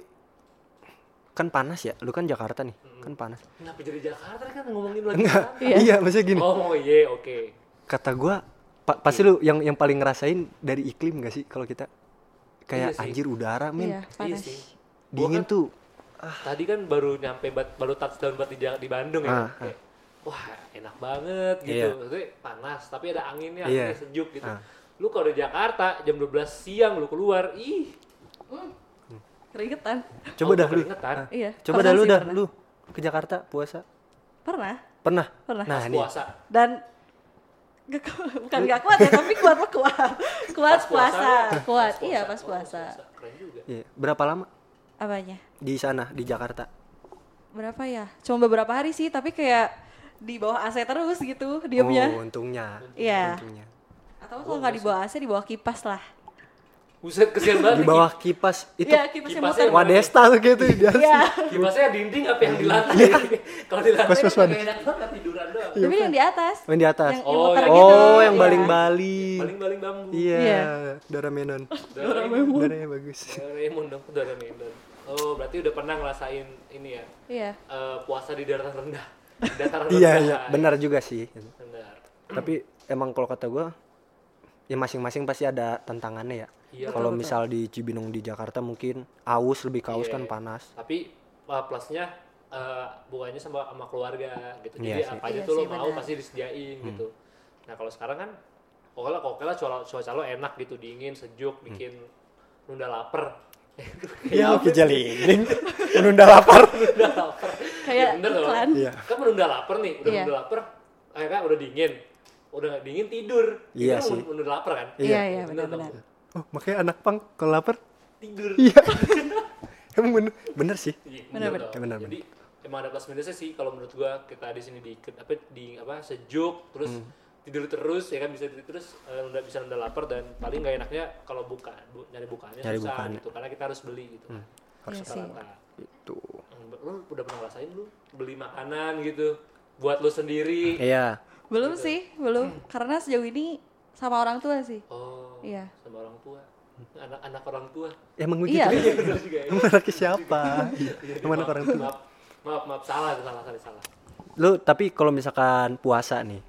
[SPEAKER 3] kan panas ya. Lu kan Jakarta nih. Kan panas.
[SPEAKER 2] Kenapa jadi Jakarta kan ngomongin lagi?
[SPEAKER 3] Enggak. Iya, maksudnya gini.
[SPEAKER 2] Oh, oh iya, oke.
[SPEAKER 3] Kata gua pa- pasti
[SPEAKER 2] Iya.
[SPEAKER 3] lu yang yang paling ngerasain dari iklim gak sih kalau kita
[SPEAKER 2] Iya
[SPEAKER 3] kayak
[SPEAKER 2] sih.
[SPEAKER 3] anjir udara,
[SPEAKER 4] Iya,
[SPEAKER 3] men.
[SPEAKER 2] Iya
[SPEAKER 4] panas.
[SPEAKER 2] sih. Gua
[SPEAKER 3] Dingin
[SPEAKER 2] kan-
[SPEAKER 3] tuh.
[SPEAKER 2] Tadi kan baru nyampe bat- baru touchdown buat di, Ja- di Bandung ya.
[SPEAKER 3] Ah,
[SPEAKER 2] Kayak, Wah, enak banget gitu.
[SPEAKER 3] Iya.
[SPEAKER 2] Maksudnya panas, tapi ada anginnya,
[SPEAKER 3] Iya.
[SPEAKER 2] anginnya sejuk gitu.
[SPEAKER 3] Ah.
[SPEAKER 2] Lu kalau di Jakarta jam 12 siang lu keluar, ih.
[SPEAKER 4] Keringetan.
[SPEAKER 3] Coba
[SPEAKER 2] Oh,
[SPEAKER 3] dah lu.
[SPEAKER 2] keringetan.
[SPEAKER 3] Ah.
[SPEAKER 4] Iya.
[SPEAKER 3] Coba
[SPEAKER 4] pernah
[SPEAKER 3] dah lu
[SPEAKER 4] sih,
[SPEAKER 3] dah
[SPEAKER 4] pernah.
[SPEAKER 3] lu ke Jakarta puasa.
[SPEAKER 4] Pernah.
[SPEAKER 3] Pernah?
[SPEAKER 4] Pernah.
[SPEAKER 3] Nah,
[SPEAKER 2] Pas
[SPEAKER 3] ini.
[SPEAKER 2] puasa.
[SPEAKER 4] Dan gak ku- bukan gak kuat ya, tapi kuat mah kuat. Kuat
[SPEAKER 2] Pas
[SPEAKER 4] puasa.
[SPEAKER 2] Pas
[SPEAKER 4] Kuat. Iya, pas
[SPEAKER 2] Oh,
[SPEAKER 4] puasa.
[SPEAKER 2] Keren juga.
[SPEAKER 3] Iya. Berapa lama
[SPEAKER 4] Apanya?
[SPEAKER 3] di sana di Jakarta?
[SPEAKER 4] Berapa ya? Cuma beberapa hari sih, tapi kayak di bawah AC terus gitu diemnya.
[SPEAKER 3] Oh, untungnya.
[SPEAKER 4] Iya.
[SPEAKER 3] Untungnya.
[SPEAKER 4] Atau kalau nggak di bawah AC, di bawah kipas lah.
[SPEAKER 2] Buset, kesian banget.
[SPEAKER 3] Di
[SPEAKER 2] nih,
[SPEAKER 3] bawah kipas itu
[SPEAKER 4] Iya, kipas yang
[SPEAKER 2] kipasnya
[SPEAKER 4] muter.
[SPEAKER 2] warna-
[SPEAKER 3] Wadesta tuh gitu di atas.
[SPEAKER 4] Iya.
[SPEAKER 2] ki- Kipasnya dinding apa yang di lantai? Kalau di lantai
[SPEAKER 3] Iya. Pas- pas
[SPEAKER 2] kan
[SPEAKER 3] banget.
[SPEAKER 2] enak banget tiduran doang.
[SPEAKER 4] Tapi yang di atas.
[SPEAKER 3] Yang di atas.
[SPEAKER 4] Yang,
[SPEAKER 2] Oh,
[SPEAKER 4] muter
[SPEAKER 2] yang-
[SPEAKER 4] gitu.
[SPEAKER 3] Oh, yang
[SPEAKER 4] Iya.
[SPEAKER 3] baling-baling.
[SPEAKER 2] Paling-paling bambu.
[SPEAKER 3] Iya,
[SPEAKER 4] Iya.
[SPEAKER 3] darah menon.
[SPEAKER 2] Doraemon.
[SPEAKER 3] Darahnya bagus.
[SPEAKER 2] Doraemon dong, Doraemon. Oh, berarti udah pernah ngerasain ini ya,
[SPEAKER 4] Iya.
[SPEAKER 2] eh, puasa di daratan rendah. Di Dataran rendah.
[SPEAKER 3] Iya, iya, benar juga sih.
[SPEAKER 2] Benar.
[SPEAKER 3] Tapi emang kalau kata gua ya masing-masing pasti ada tantangannya ya.
[SPEAKER 2] Iya.
[SPEAKER 3] kalau misal di Cibinong di Jakarta mungkin aus lebih kaus
[SPEAKER 2] Iya.
[SPEAKER 3] kan panas.
[SPEAKER 2] Tapi uh, plusnya eh bukannya sama sama keluarga gitu. Jadi
[SPEAKER 3] Iya sih. Hmm.
[SPEAKER 2] apa aja
[SPEAKER 4] Iya
[SPEAKER 2] tuh lo
[SPEAKER 4] sih,
[SPEAKER 2] mau
[SPEAKER 4] benar.
[SPEAKER 2] pasti disediain gitu. Nah kalau sekarang kan oke lah oke lah cuaca, cuaca lo enak gitu dingin sejuk bikin nunda lapar.
[SPEAKER 3] Hmm. Iya, oke jalining. Menunda lapar.
[SPEAKER 2] nunda lapar. Ya,
[SPEAKER 4] Kayak
[SPEAKER 2] bener loh.
[SPEAKER 4] iklan.
[SPEAKER 3] Iya.
[SPEAKER 2] Kan menunda lapar nih, udah
[SPEAKER 4] Iya.
[SPEAKER 2] menunda lapar, akhirnya udah dingin, udah nggak dingin tidur. Itu
[SPEAKER 3] Iya
[SPEAKER 2] kan
[SPEAKER 3] sih.
[SPEAKER 2] Menunda lapar kan.
[SPEAKER 4] Iya, iya,
[SPEAKER 2] Bener dong.
[SPEAKER 4] benar-benar.
[SPEAKER 3] Oh, makanya anak pang kalau lapar.
[SPEAKER 2] Tidur.
[SPEAKER 3] Iya. Emang bener, bener sih.
[SPEAKER 2] Iya,
[SPEAKER 4] Benar,
[SPEAKER 2] bener
[SPEAKER 4] benar.
[SPEAKER 2] dong.
[SPEAKER 3] Benar,
[SPEAKER 2] Jadi emang ada plus minusnya sih kalau menurut gua kita di sini di apa di apa sejuk terus
[SPEAKER 3] Hmm.
[SPEAKER 2] tidur terus ya kan bisa tidur terus eh, nunda bisa nunda lapar dan paling nggak enaknya kalau buka bu, nyari bukaannya
[SPEAKER 3] Nyari
[SPEAKER 2] susah
[SPEAKER 3] bukaannya. Hmm.
[SPEAKER 2] gitu karena kita harus beli gitu.
[SPEAKER 4] Harus Iya sih.
[SPEAKER 2] Rata-rata.
[SPEAKER 3] Itu.
[SPEAKER 2] Hmm, Lu udah pernah ngerasain lu beli makanan gitu buat lu sendiri.
[SPEAKER 3] Iya.
[SPEAKER 4] Belum sih, belum.
[SPEAKER 3] Hmm.
[SPEAKER 4] Karena sejauh ini sama orang tua sih.
[SPEAKER 2] Oh,
[SPEAKER 4] Iya.
[SPEAKER 2] sama orang tua. Anak-anak orang tua.
[SPEAKER 3] Ya, Emang
[SPEAKER 4] Iya.
[SPEAKER 3] begitu.
[SPEAKER 2] Bener juga ya.
[SPEAKER 3] Emang anaknya siapa? Emang anak
[SPEAKER 2] Maaf,
[SPEAKER 3] orang tua.
[SPEAKER 2] Maaf, maaf, maaf, salah, salah, salah, salah.
[SPEAKER 3] Lu tapi kalau misalkan puasa nih.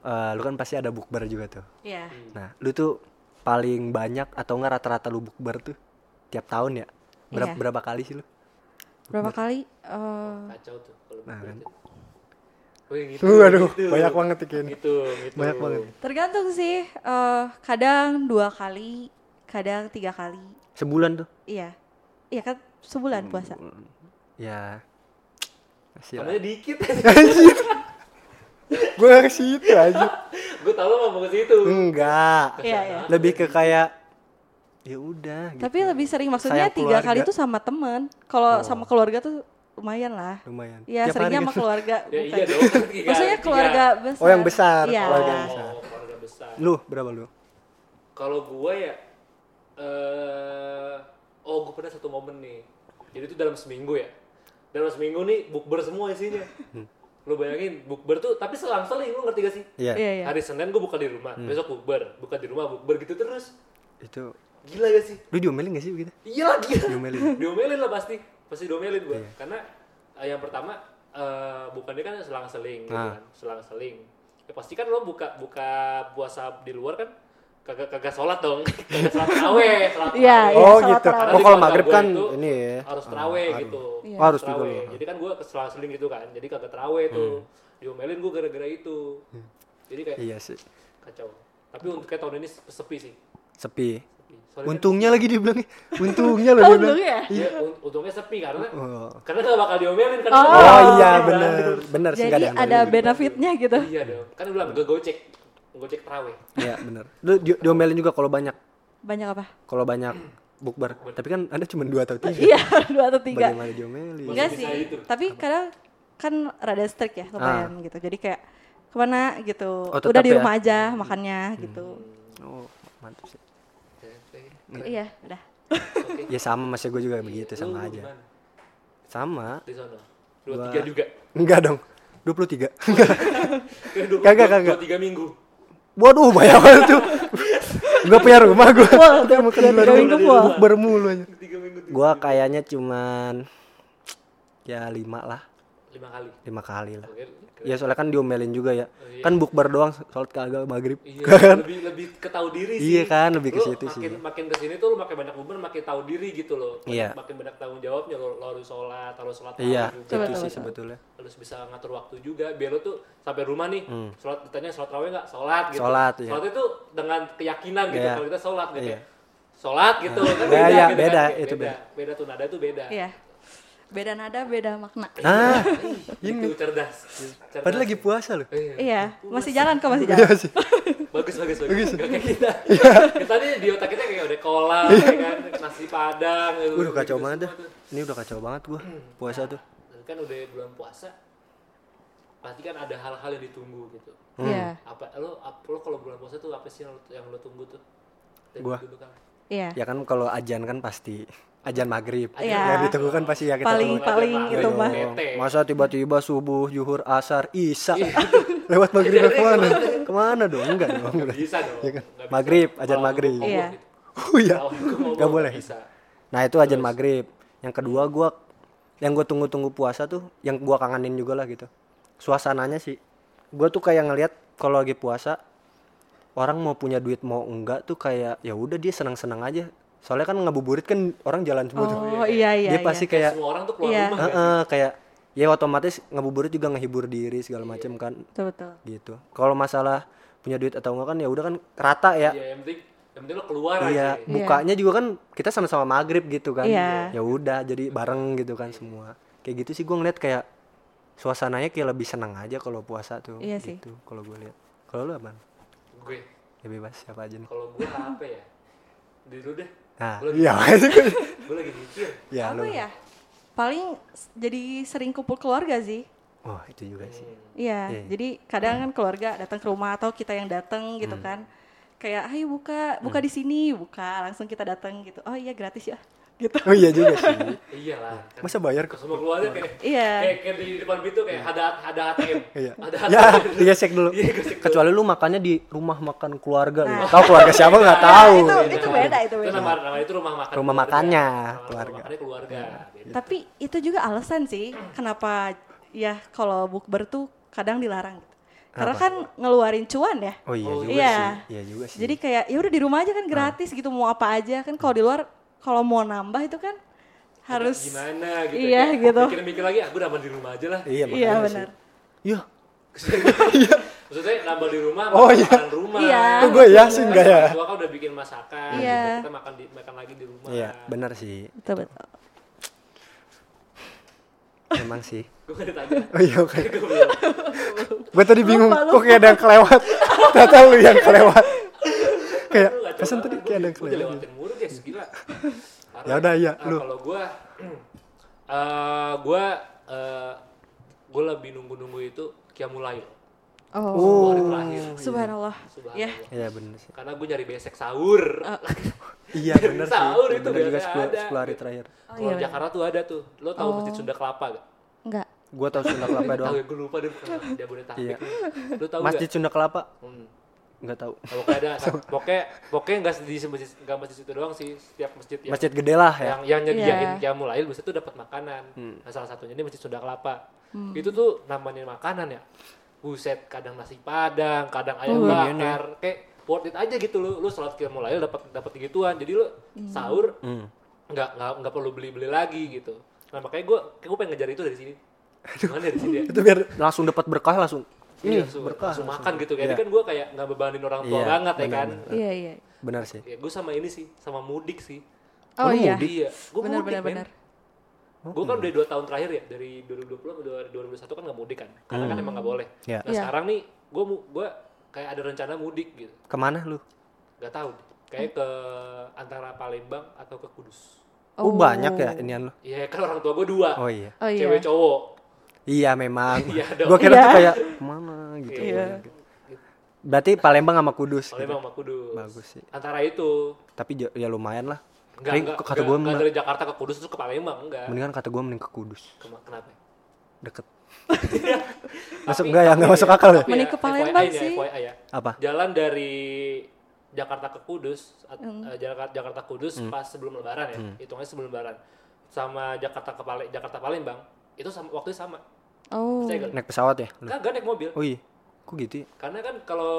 [SPEAKER 3] eh, lu kan pasti ada bukber juga tuh.
[SPEAKER 4] Iya.
[SPEAKER 3] Nah, lu tuh paling banyak atau enggak rata-rata lu bukber tuh tiap tahun ya? Berapa
[SPEAKER 4] Iya.
[SPEAKER 3] berapa kali sih lu?
[SPEAKER 4] Berapa kali? eh,
[SPEAKER 2] kacau tuh kalau
[SPEAKER 3] Nah,
[SPEAKER 2] begitu.
[SPEAKER 3] kan.
[SPEAKER 2] Wih, gitu,
[SPEAKER 3] Tuh, aduh,
[SPEAKER 2] gitu.
[SPEAKER 3] banyak banget tuh kayaknya.
[SPEAKER 2] Gitu, gitu.
[SPEAKER 3] Banyak banget.
[SPEAKER 4] tergantung sih. eh, kadang dua kali, kadang tiga kali.
[SPEAKER 3] Sebulan tuh.
[SPEAKER 4] Iya. Iya kan sebulan
[SPEAKER 3] Hmm.
[SPEAKER 4] puasa.
[SPEAKER 3] Ya. Kasih lah.
[SPEAKER 2] Namanya dikit.
[SPEAKER 3] Gue gak ke situ aja.
[SPEAKER 2] gue tau lo mau mau ke situ.
[SPEAKER 3] Hmm. Enggak.
[SPEAKER 4] Iya, iya.
[SPEAKER 3] Lebih ke kayak ya udah gitu.
[SPEAKER 4] Tapi lebih sering maksudnya
[SPEAKER 3] Sayang
[SPEAKER 4] tiga
[SPEAKER 3] keluarga. Oh.
[SPEAKER 4] kali tuh sama temen. Kalau sama keluarga tuh lumayan lah.
[SPEAKER 3] Lumayan.
[SPEAKER 4] Iya,
[SPEAKER 3] Tiap
[SPEAKER 4] seringnya
[SPEAKER 3] hari
[SPEAKER 4] sama
[SPEAKER 3] kan?
[SPEAKER 4] keluarga.
[SPEAKER 2] Ya
[SPEAKER 4] bukan.
[SPEAKER 2] iya dong. tiga-
[SPEAKER 4] Maksudnya
[SPEAKER 2] tiga.
[SPEAKER 4] keluarga besar.
[SPEAKER 3] Oh, yang besar,
[SPEAKER 4] Iya.
[SPEAKER 3] keluarga yang besar.
[SPEAKER 2] Oh, keluarga besar.
[SPEAKER 3] Lu berapa lu?
[SPEAKER 2] Kalau gue ya, eh oh gue pernah satu momen nih. Jadi itu dalam seminggu ya. Dalam seminggu nih bukber semua isinya. Lo bayangin bukber tuh, tapi selang-seling lo ngerti gak sih?
[SPEAKER 3] Iya.
[SPEAKER 4] Iya, Hmm. iya.
[SPEAKER 2] Hari Senin gue buka di rumah, besok bukber, buka di rumah bukber gitu terus.
[SPEAKER 3] Itu
[SPEAKER 2] Gila gak sih?
[SPEAKER 3] lu diomelin gak sih begitu?
[SPEAKER 2] Iya lagi.
[SPEAKER 3] Diomelin. Iya.
[SPEAKER 2] diomelin lah pasti. Pasti diomelin gue. Karena eh, yang pertama eh, bukannya kan selang-seling gitu
[SPEAKER 3] Ah.
[SPEAKER 2] kan. Selang-seling. Ya pasti kan lo buka buka puasa di luar kan kagak kagak sholat dong. kagak sholat taraweh, sholat
[SPEAKER 4] Iya,
[SPEAKER 2] taraweh.
[SPEAKER 4] iya,
[SPEAKER 3] Oh,
[SPEAKER 4] salat
[SPEAKER 3] gitu.
[SPEAKER 2] Karena di
[SPEAKER 3] Oh,
[SPEAKER 4] tarawih.
[SPEAKER 3] kalau
[SPEAKER 2] keluarga
[SPEAKER 3] maghrib
[SPEAKER 2] gua
[SPEAKER 3] kan
[SPEAKER 2] itu
[SPEAKER 3] ini ya.
[SPEAKER 2] Harus
[SPEAKER 3] Ah,
[SPEAKER 2] teraweh
[SPEAKER 3] harus.
[SPEAKER 2] gitu.
[SPEAKER 4] Iya.
[SPEAKER 3] Harus
[SPEAKER 2] teraweh.
[SPEAKER 3] gitu loh.
[SPEAKER 2] Jadi kan gue keselang-seling gitu kan. Jadi kagak teraweh tuh. Diomelin gue gara-gara itu. Jadi kayak
[SPEAKER 3] Hmm. Iya sih.
[SPEAKER 2] kacau. Tapi untuk kayak tahun ini sepi sih.
[SPEAKER 3] Sepi.
[SPEAKER 2] Soalnya kan-
[SPEAKER 3] Untungnya lagi dia bilang, ya. untungnya loh dia
[SPEAKER 4] Oh,
[SPEAKER 3] bilang.
[SPEAKER 4] untungnya?
[SPEAKER 2] Ya, un- untungnya sepi karena
[SPEAKER 3] Iya. Oh.
[SPEAKER 2] karena gak bakal diomelin kan.
[SPEAKER 4] Oh.
[SPEAKER 3] Oh iya
[SPEAKER 2] Iya,
[SPEAKER 3] bener,
[SPEAKER 2] bener.
[SPEAKER 3] bener sih nggak
[SPEAKER 4] Jadi
[SPEAKER 3] yang
[SPEAKER 4] ada
[SPEAKER 3] tadi.
[SPEAKER 4] benefitnya gitu.
[SPEAKER 2] Iya dong. Kan udah gue gocek. Gocek terawih.
[SPEAKER 3] Iya bener. Lu di- diomelin juga kalau banyak,
[SPEAKER 4] Banyak apa?
[SPEAKER 3] kalau banyak bukber. Tapi kan anda cuma dua atau tiga.
[SPEAKER 4] Iya, dua atau tiga. Iya.
[SPEAKER 3] Bagaimana diomelin?
[SPEAKER 4] Enggak
[SPEAKER 2] Masih
[SPEAKER 4] sih,
[SPEAKER 2] bisa itu.
[SPEAKER 4] tapi kadang kan rada strict ya lumayan gitu. Jadi kayak kemana
[SPEAKER 3] Ah.
[SPEAKER 4] gitu,
[SPEAKER 3] Oh, tetap
[SPEAKER 4] udah di
[SPEAKER 3] ya? Hmm.
[SPEAKER 4] rumah aja makannya gitu.
[SPEAKER 3] Oh mantap sih. Hmm.
[SPEAKER 4] Iya, udah.
[SPEAKER 2] Oke.
[SPEAKER 3] Ya sama masih gue juga
[SPEAKER 2] Lu
[SPEAKER 3] begitu sama aja.
[SPEAKER 2] gimana
[SPEAKER 3] Sama.
[SPEAKER 2] Di sono. Dua tiga juga.
[SPEAKER 3] Enggak dong. 23.
[SPEAKER 2] Eh, dua-
[SPEAKER 3] Kagak,
[SPEAKER 2] dua-
[SPEAKER 3] kagak.
[SPEAKER 2] Dua tiga minggu.
[SPEAKER 3] Waduh, banyak banget tuh. Gua punya rumah gua. Udah makan di luar
[SPEAKER 4] tiga minggu full.
[SPEAKER 3] Bukber mulu aja.
[SPEAKER 2] Dua Tiga minggu. tuh.
[SPEAKER 3] Gua kayaknya cuman ya lima lah,
[SPEAKER 2] Lima kali.
[SPEAKER 3] lima kali lah.
[SPEAKER 2] Oke.
[SPEAKER 3] Ya soalnya kan diomelin juga ya.
[SPEAKER 2] iya.
[SPEAKER 3] Kan bukber doang sholat kagak maghrib.
[SPEAKER 2] Iya, lebih lebih ketahu diri sih.
[SPEAKER 3] Iya kan, lebih ke
[SPEAKER 2] Lu
[SPEAKER 3] situ
[SPEAKER 2] makin, Makin ke sini tuh lu makin banyak umur, makin tahu diri gitu loh. Makin-
[SPEAKER 3] Iya.
[SPEAKER 2] Makin banyak tanggung jawabnya lo, lo harus sholat, harus sholat malam
[SPEAKER 3] Iya,
[SPEAKER 2] juga.
[SPEAKER 4] Coba,
[SPEAKER 3] itu
[SPEAKER 4] coba,
[SPEAKER 3] sih
[SPEAKER 4] coba.
[SPEAKER 3] sebetulnya.
[SPEAKER 2] harus bisa ngatur waktu juga biar lo tuh sampai rumah nih sholat ditanya sholat raweh nggak sholat gitu
[SPEAKER 3] Hmm. Sholat, iya.
[SPEAKER 2] sholat itu dengan keyakinan gitu
[SPEAKER 3] Iya.
[SPEAKER 2] kalau kita sholat gitu
[SPEAKER 3] Iya.
[SPEAKER 2] sholat gitu kan
[SPEAKER 3] Iya, iya,
[SPEAKER 2] gitu
[SPEAKER 3] beda,
[SPEAKER 2] Kayak
[SPEAKER 3] itu
[SPEAKER 2] beda beda tuh nada tuh beda
[SPEAKER 4] Iya. Beda nada, beda makna.
[SPEAKER 3] Nah,
[SPEAKER 2] ini Gitu, cerdas, cerdas.
[SPEAKER 3] padahal lagi puasa loh.
[SPEAKER 2] Iya.
[SPEAKER 4] Iya, masih jalan kok masih
[SPEAKER 3] Iya
[SPEAKER 4] jalan.
[SPEAKER 3] sih.
[SPEAKER 2] bagus bagus bagus Nggak kayak kita
[SPEAKER 3] Iya.
[SPEAKER 2] kita nih di otak kita kayak udah kolam ya kan nasi padang gitu,
[SPEAKER 3] Udah Iya. kacau
[SPEAKER 2] gitu
[SPEAKER 3] banget dah.
[SPEAKER 2] semua tuh.
[SPEAKER 3] Ini udah kacau banget gua puasa tuh.
[SPEAKER 2] Dan kan udah bulan puasa pasti kan ada hal-hal yang ditunggu gitu
[SPEAKER 4] Iya.
[SPEAKER 3] Hmm.
[SPEAKER 2] apa lo ap- lo kalau bulan puasa tuh apa sih yang lo, yang lo tunggu tuh Dari
[SPEAKER 3] Gua.
[SPEAKER 2] dulu kan.
[SPEAKER 4] Iya.
[SPEAKER 3] Ya kan kalau ajan kan pasti ajan maghrib.
[SPEAKER 4] Iya.
[SPEAKER 3] Yang ditunggu kan pasti ya kita
[SPEAKER 4] Paling
[SPEAKER 3] tunggu.
[SPEAKER 4] paling gitu,
[SPEAKER 2] Iya,
[SPEAKER 4] itu
[SPEAKER 2] iya.
[SPEAKER 4] mah.
[SPEAKER 2] Iya. Bete.
[SPEAKER 3] Masa tiba-tiba subuh, zuhur, asar, isya
[SPEAKER 4] Iya.
[SPEAKER 3] lewat maghrib kemana? Kemana dong? Enggak dong.
[SPEAKER 2] Nggak bisa dong
[SPEAKER 3] Iya kan?
[SPEAKER 2] Nggak bisa.
[SPEAKER 3] Maghrib, ajan
[SPEAKER 2] Kalau
[SPEAKER 3] maghrib.
[SPEAKER 2] ngomong
[SPEAKER 4] Iya.
[SPEAKER 2] gitu.
[SPEAKER 3] Oh iya.
[SPEAKER 2] Kalau ngomong gitu,
[SPEAKER 3] Nggak boleh.
[SPEAKER 2] bisa
[SPEAKER 3] Nah itu ajan maghrib. Yang kedua gua yang gue tunggu-tunggu puasa tuh, yang gua kangenin juga lah gitu. Suasananya sih, gue tuh kayak ngelihat kalau lagi puasa orang mau punya duit mau enggak tuh kayak ya udah dia senang-senang aja. Soalnya kan ngabuburit kan orang jalan semua tuh.
[SPEAKER 4] Oh iya iya.
[SPEAKER 3] dia pasti
[SPEAKER 4] iya.
[SPEAKER 3] kayak
[SPEAKER 2] semua orang tuh keluar
[SPEAKER 4] Iya.
[SPEAKER 2] rumah
[SPEAKER 3] Heeh, kayak ya otomatis ngebuburit juga ngehibur diri segala macam kan
[SPEAKER 4] betul betul
[SPEAKER 3] gitu kalau masalah punya duit atau enggak kan ya udah kan rata ya
[SPEAKER 2] Iya, yang penting yang penting lo keluar
[SPEAKER 3] iya
[SPEAKER 2] aja.
[SPEAKER 3] bukanya juga kan kita sama-sama maghrib gitu kan
[SPEAKER 4] Iya.
[SPEAKER 3] ya udah jadi bareng gitu kan semua kayak gitu sih gue ngeliat kayak suasananya kayak lebih senang aja kalau puasa tuh
[SPEAKER 4] Iya sih.
[SPEAKER 3] gitu kalau gue lihat kalau lu apa
[SPEAKER 2] Gue
[SPEAKER 3] ya bebas siapa aja nih
[SPEAKER 2] kalau gue apa ya? Dulu deh.
[SPEAKER 3] nah
[SPEAKER 2] Lu-
[SPEAKER 3] iya
[SPEAKER 2] Gue lagi mikir.
[SPEAKER 3] ya
[SPEAKER 4] apa
[SPEAKER 3] lu
[SPEAKER 4] ya paling s- jadi sering kumpul keluarga sih
[SPEAKER 3] oh itu juga sih
[SPEAKER 4] Iya,
[SPEAKER 3] Iya.
[SPEAKER 4] jadi kadang kan keluarga datang ke rumah atau kita yang datang
[SPEAKER 3] Hmm.
[SPEAKER 4] gitu kan. Kayak, ayo buka, buka di sini, buka. Langsung kita datang gitu. Oh iya gratis ya, gitu.
[SPEAKER 3] oh iya juga sih
[SPEAKER 2] Iyalah.
[SPEAKER 3] masa bayar
[SPEAKER 2] Ke
[SPEAKER 3] kok
[SPEAKER 2] semua keluarga kayak
[SPEAKER 4] Iya,
[SPEAKER 2] kayak, kayak di depan pintu kayak ada ada ATM.
[SPEAKER 3] Iya.
[SPEAKER 2] Ada
[SPEAKER 3] Ya, digesek dulu.
[SPEAKER 2] Iya, gesek dulu.
[SPEAKER 3] Kecuali lu makannya di rumah makan keluarga
[SPEAKER 4] Nah. Iya,
[SPEAKER 3] lu. Tahu keluarga siapa nggak tahu.
[SPEAKER 4] itu itu beda itu
[SPEAKER 2] Itu
[SPEAKER 4] beda.
[SPEAKER 2] nama, nama itu rumah makan.
[SPEAKER 3] Rumah makannya,
[SPEAKER 2] Nama
[SPEAKER 3] keluarga.
[SPEAKER 2] Rumah
[SPEAKER 3] Iya.
[SPEAKER 2] makannya keluarga. Beda.
[SPEAKER 4] Tapi itu juga alasan sih kenapa ya kalau bukber tuh kadang dilarang. gitu. Karena kan ngeluarin cuan ya.
[SPEAKER 3] Oh iya juga
[SPEAKER 4] Iya.
[SPEAKER 3] sih. Iya juga sih. Ah.
[SPEAKER 4] Jadi kayak ya udah di rumah aja kan gratis gitu mau apa aja kan kalau di luar kalau mau nambah itu kan harus
[SPEAKER 2] gimana gitu.
[SPEAKER 4] Iya,
[SPEAKER 2] Kayak
[SPEAKER 4] gitu.
[SPEAKER 2] Mikir-mikir lagi, aku nambah di rumah aja lah.
[SPEAKER 3] iya
[SPEAKER 4] Iya
[SPEAKER 3] makanya
[SPEAKER 4] benar.
[SPEAKER 3] sih. Iya.
[SPEAKER 2] Maksudnya nambah di rumah,
[SPEAKER 3] Oh,
[SPEAKER 2] makan
[SPEAKER 3] iya.
[SPEAKER 2] makan rumah.
[SPEAKER 4] Iya.
[SPEAKER 3] Tuh gue ya sih enggak ya.
[SPEAKER 2] Tua kan udah bikin masakan,
[SPEAKER 4] Iya.
[SPEAKER 2] gitu. kita makan di, makan lagi di rumah.
[SPEAKER 3] Iya, benar sih.
[SPEAKER 4] Betul betul.
[SPEAKER 3] Emang sih.
[SPEAKER 2] Gue kan ditanya.
[SPEAKER 3] Oh iya oke.
[SPEAKER 2] Gue bilang,
[SPEAKER 3] Gue tadi bingung
[SPEAKER 4] Lupa,
[SPEAKER 3] kok kayak ada yang kelewat. Ternyata lu yang kelewat. Kayak
[SPEAKER 2] "Lu gacor
[SPEAKER 3] Iya, pesan
[SPEAKER 2] banget,
[SPEAKER 3] tadi
[SPEAKER 2] gua
[SPEAKER 3] kayak ada yang
[SPEAKER 2] di- gua
[SPEAKER 3] kelewat.
[SPEAKER 2] dilewatin mulu guys, gila. Parah.
[SPEAKER 3] Ya udah, iya,
[SPEAKER 2] Ah,
[SPEAKER 3] lu.
[SPEAKER 2] ya, Kalau gue, eh gue, eh gue lebih nunggu-nunggu itu Kiamulail.
[SPEAKER 4] Oh,
[SPEAKER 3] Oh.
[SPEAKER 2] Hari terakhir.
[SPEAKER 4] subhanallah. Ya.
[SPEAKER 2] Subhanallah.
[SPEAKER 3] Iya benar sih.
[SPEAKER 2] Karena gue nyari besek sahur.
[SPEAKER 3] Iya
[SPEAKER 2] Dari
[SPEAKER 3] benar sih.
[SPEAKER 2] sahur itu
[SPEAKER 3] Benar juga
[SPEAKER 2] biasanya
[SPEAKER 3] 10
[SPEAKER 2] ada.
[SPEAKER 3] 10 hari terakhir.
[SPEAKER 4] Oh, iya,
[SPEAKER 2] Kalau Jakarta tuh ada tuh. Lo tau Masjid Sunda Kelapa gak?
[SPEAKER 4] Enggak.
[SPEAKER 3] Gue tahu Sunda Kelapa
[SPEAKER 2] Tahu
[SPEAKER 3] doang.
[SPEAKER 2] ya, gue lupa deh. bukan Jabodetabek.
[SPEAKER 3] Iya.
[SPEAKER 2] Lo tau
[SPEAKER 3] Masjid
[SPEAKER 2] gak?
[SPEAKER 3] Sunda Kelapa
[SPEAKER 2] Hmm.
[SPEAKER 3] nggak tahu.
[SPEAKER 2] Nah, pokoknya ada, pokoknya pokoknya nggak di masjid nggak masjid itu doang sih setiap masjid yang
[SPEAKER 3] Masjid gede lah ya. Hmm.
[SPEAKER 2] yang, yang nyediain
[SPEAKER 4] Iya.
[SPEAKER 2] kiamul ail biasanya tuh dapat makanan. Nah, salah satunya ini masjid Sunda Kelapa. Itu tuh namanya makanan ya. Buset, kadang nasi padang, kadang ayam
[SPEAKER 3] Iya,
[SPEAKER 2] bakar, kayak worth it aja gitu lu. Lu sholat kiamul ail dapat dapat gituan. Jadi lu sahur
[SPEAKER 3] Hmm.
[SPEAKER 2] nggak nggak nggak perlu beli-beli lagi gitu. Nah, makanya gue gue pengen ngejar itu dari sini. Gimana dari sini ya?
[SPEAKER 3] Itu biar langsung dapat berkah langsung.
[SPEAKER 2] Iya,
[SPEAKER 3] Ini
[SPEAKER 2] langsung,
[SPEAKER 3] berkah.
[SPEAKER 2] langsung makan
[SPEAKER 3] langsung.
[SPEAKER 2] gitu. Jadi
[SPEAKER 3] Iya.
[SPEAKER 2] kan gue kayak nggak bebanin orang tua
[SPEAKER 3] Iya,
[SPEAKER 2] banget ya
[SPEAKER 3] benar,
[SPEAKER 2] kan.
[SPEAKER 3] benar.
[SPEAKER 4] Iya iya.
[SPEAKER 3] Benar sih.
[SPEAKER 2] Ya, gue sama ini sih, sama mudik sih.
[SPEAKER 3] Lu
[SPEAKER 4] Oh, iya.
[SPEAKER 3] mudik? Oh,
[SPEAKER 2] Iya,
[SPEAKER 3] iya.
[SPEAKER 2] gue
[SPEAKER 4] Benar,
[SPEAKER 2] mudik
[SPEAKER 4] benar,
[SPEAKER 2] men.
[SPEAKER 4] benar.
[SPEAKER 2] Gue kan udah 2 tahun terakhir ya, dari 2020 ke 2021 kan gak mudik kan. Karena kan emang gak boleh.
[SPEAKER 3] Iya.
[SPEAKER 2] Nah
[SPEAKER 4] Iya.
[SPEAKER 2] sekarang nih, gue gua kayak ada rencana mudik gitu.
[SPEAKER 3] Kemana lu?
[SPEAKER 2] Gak tahu Kayak ke antara Palembang atau ke Kudus.
[SPEAKER 3] Oh, banyak ya inian lu.
[SPEAKER 2] Iya kan orang tua gue dua,
[SPEAKER 3] Oh iya.
[SPEAKER 4] Oh iya.
[SPEAKER 2] cewek cowok.
[SPEAKER 3] Iya memang.
[SPEAKER 2] Iya dong.
[SPEAKER 3] Gua kira
[SPEAKER 4] Iya.
[SPEAKER 3] tuh kayak kemana gitu.
[SPEAKER 4] Iya.
[SPEAKER 3] Berarti Palembang sama Kudus. gitu.
[SPEAKER 2] Palembang sama Kudus.
[SPEAKER 3] Bagus sih.
[SPEAKER 2] Antara itu.
[SPEAKER 3] Tapi ja- ya lumayan lah.
[SPEAKER 2] Enggak,
[SPEAKER 3] Tapi
[SPEAKER 2] enggak,
[SPEAKER 3] kata
[SPEAKER 2] enggak,
[SPEAKER 3] gue
[SPEAKER 2] enggak dari Jakarta ke Kudus terus ke Palembang, enggak.
[SPEAKER 3] mendingan kata gue mending ke Kudus.
[SPEAKER 2] Kem- Kenapa?
[SPEAKER 3] Deket.
[SPEAKER 2] Tapi-
[SPEAKER 3] Masuk enggak ya?
[SPEAKER 2] tapi iya.
[SPEAKER 3] Enggak masuk akal ya?
[SPEAKER 2] tapi
[SPEAKER 4] Mending ke
[SPEAKER 2] FYI
[SPEAKER 4] Palembang
[SPEAKER 2] nih,
[SPEAKER 4] sih.
[SPEAKER 2] FYI ya.
[SPEAKER 3] Apa?
[SPEAKER 2] jalan dari Jakarta ke Kudus at-
[SPEAKER 4] Hmm.
[SPEAKER 2] eh, Jakarta Jakarta Kudus
[SPEAKER 3] Hmm.
[SPEAKER 2] pas sebelum Lebaran ya hitungnya sebelum Lebaran sama Jakarta ke Pale- Jakarta Palembang itu sama waktunya sama
[SPEAKER 4] Oh.
[SPEAKER 2] saya gak
[SPEAKER 3] Naik pesawat ya? Lu?
[SPEAKER 2] kagak naik mobil
[SPEAKER 3] Oh iya. Kok gitu ya?
[SPEAKER 2] karena kan kalau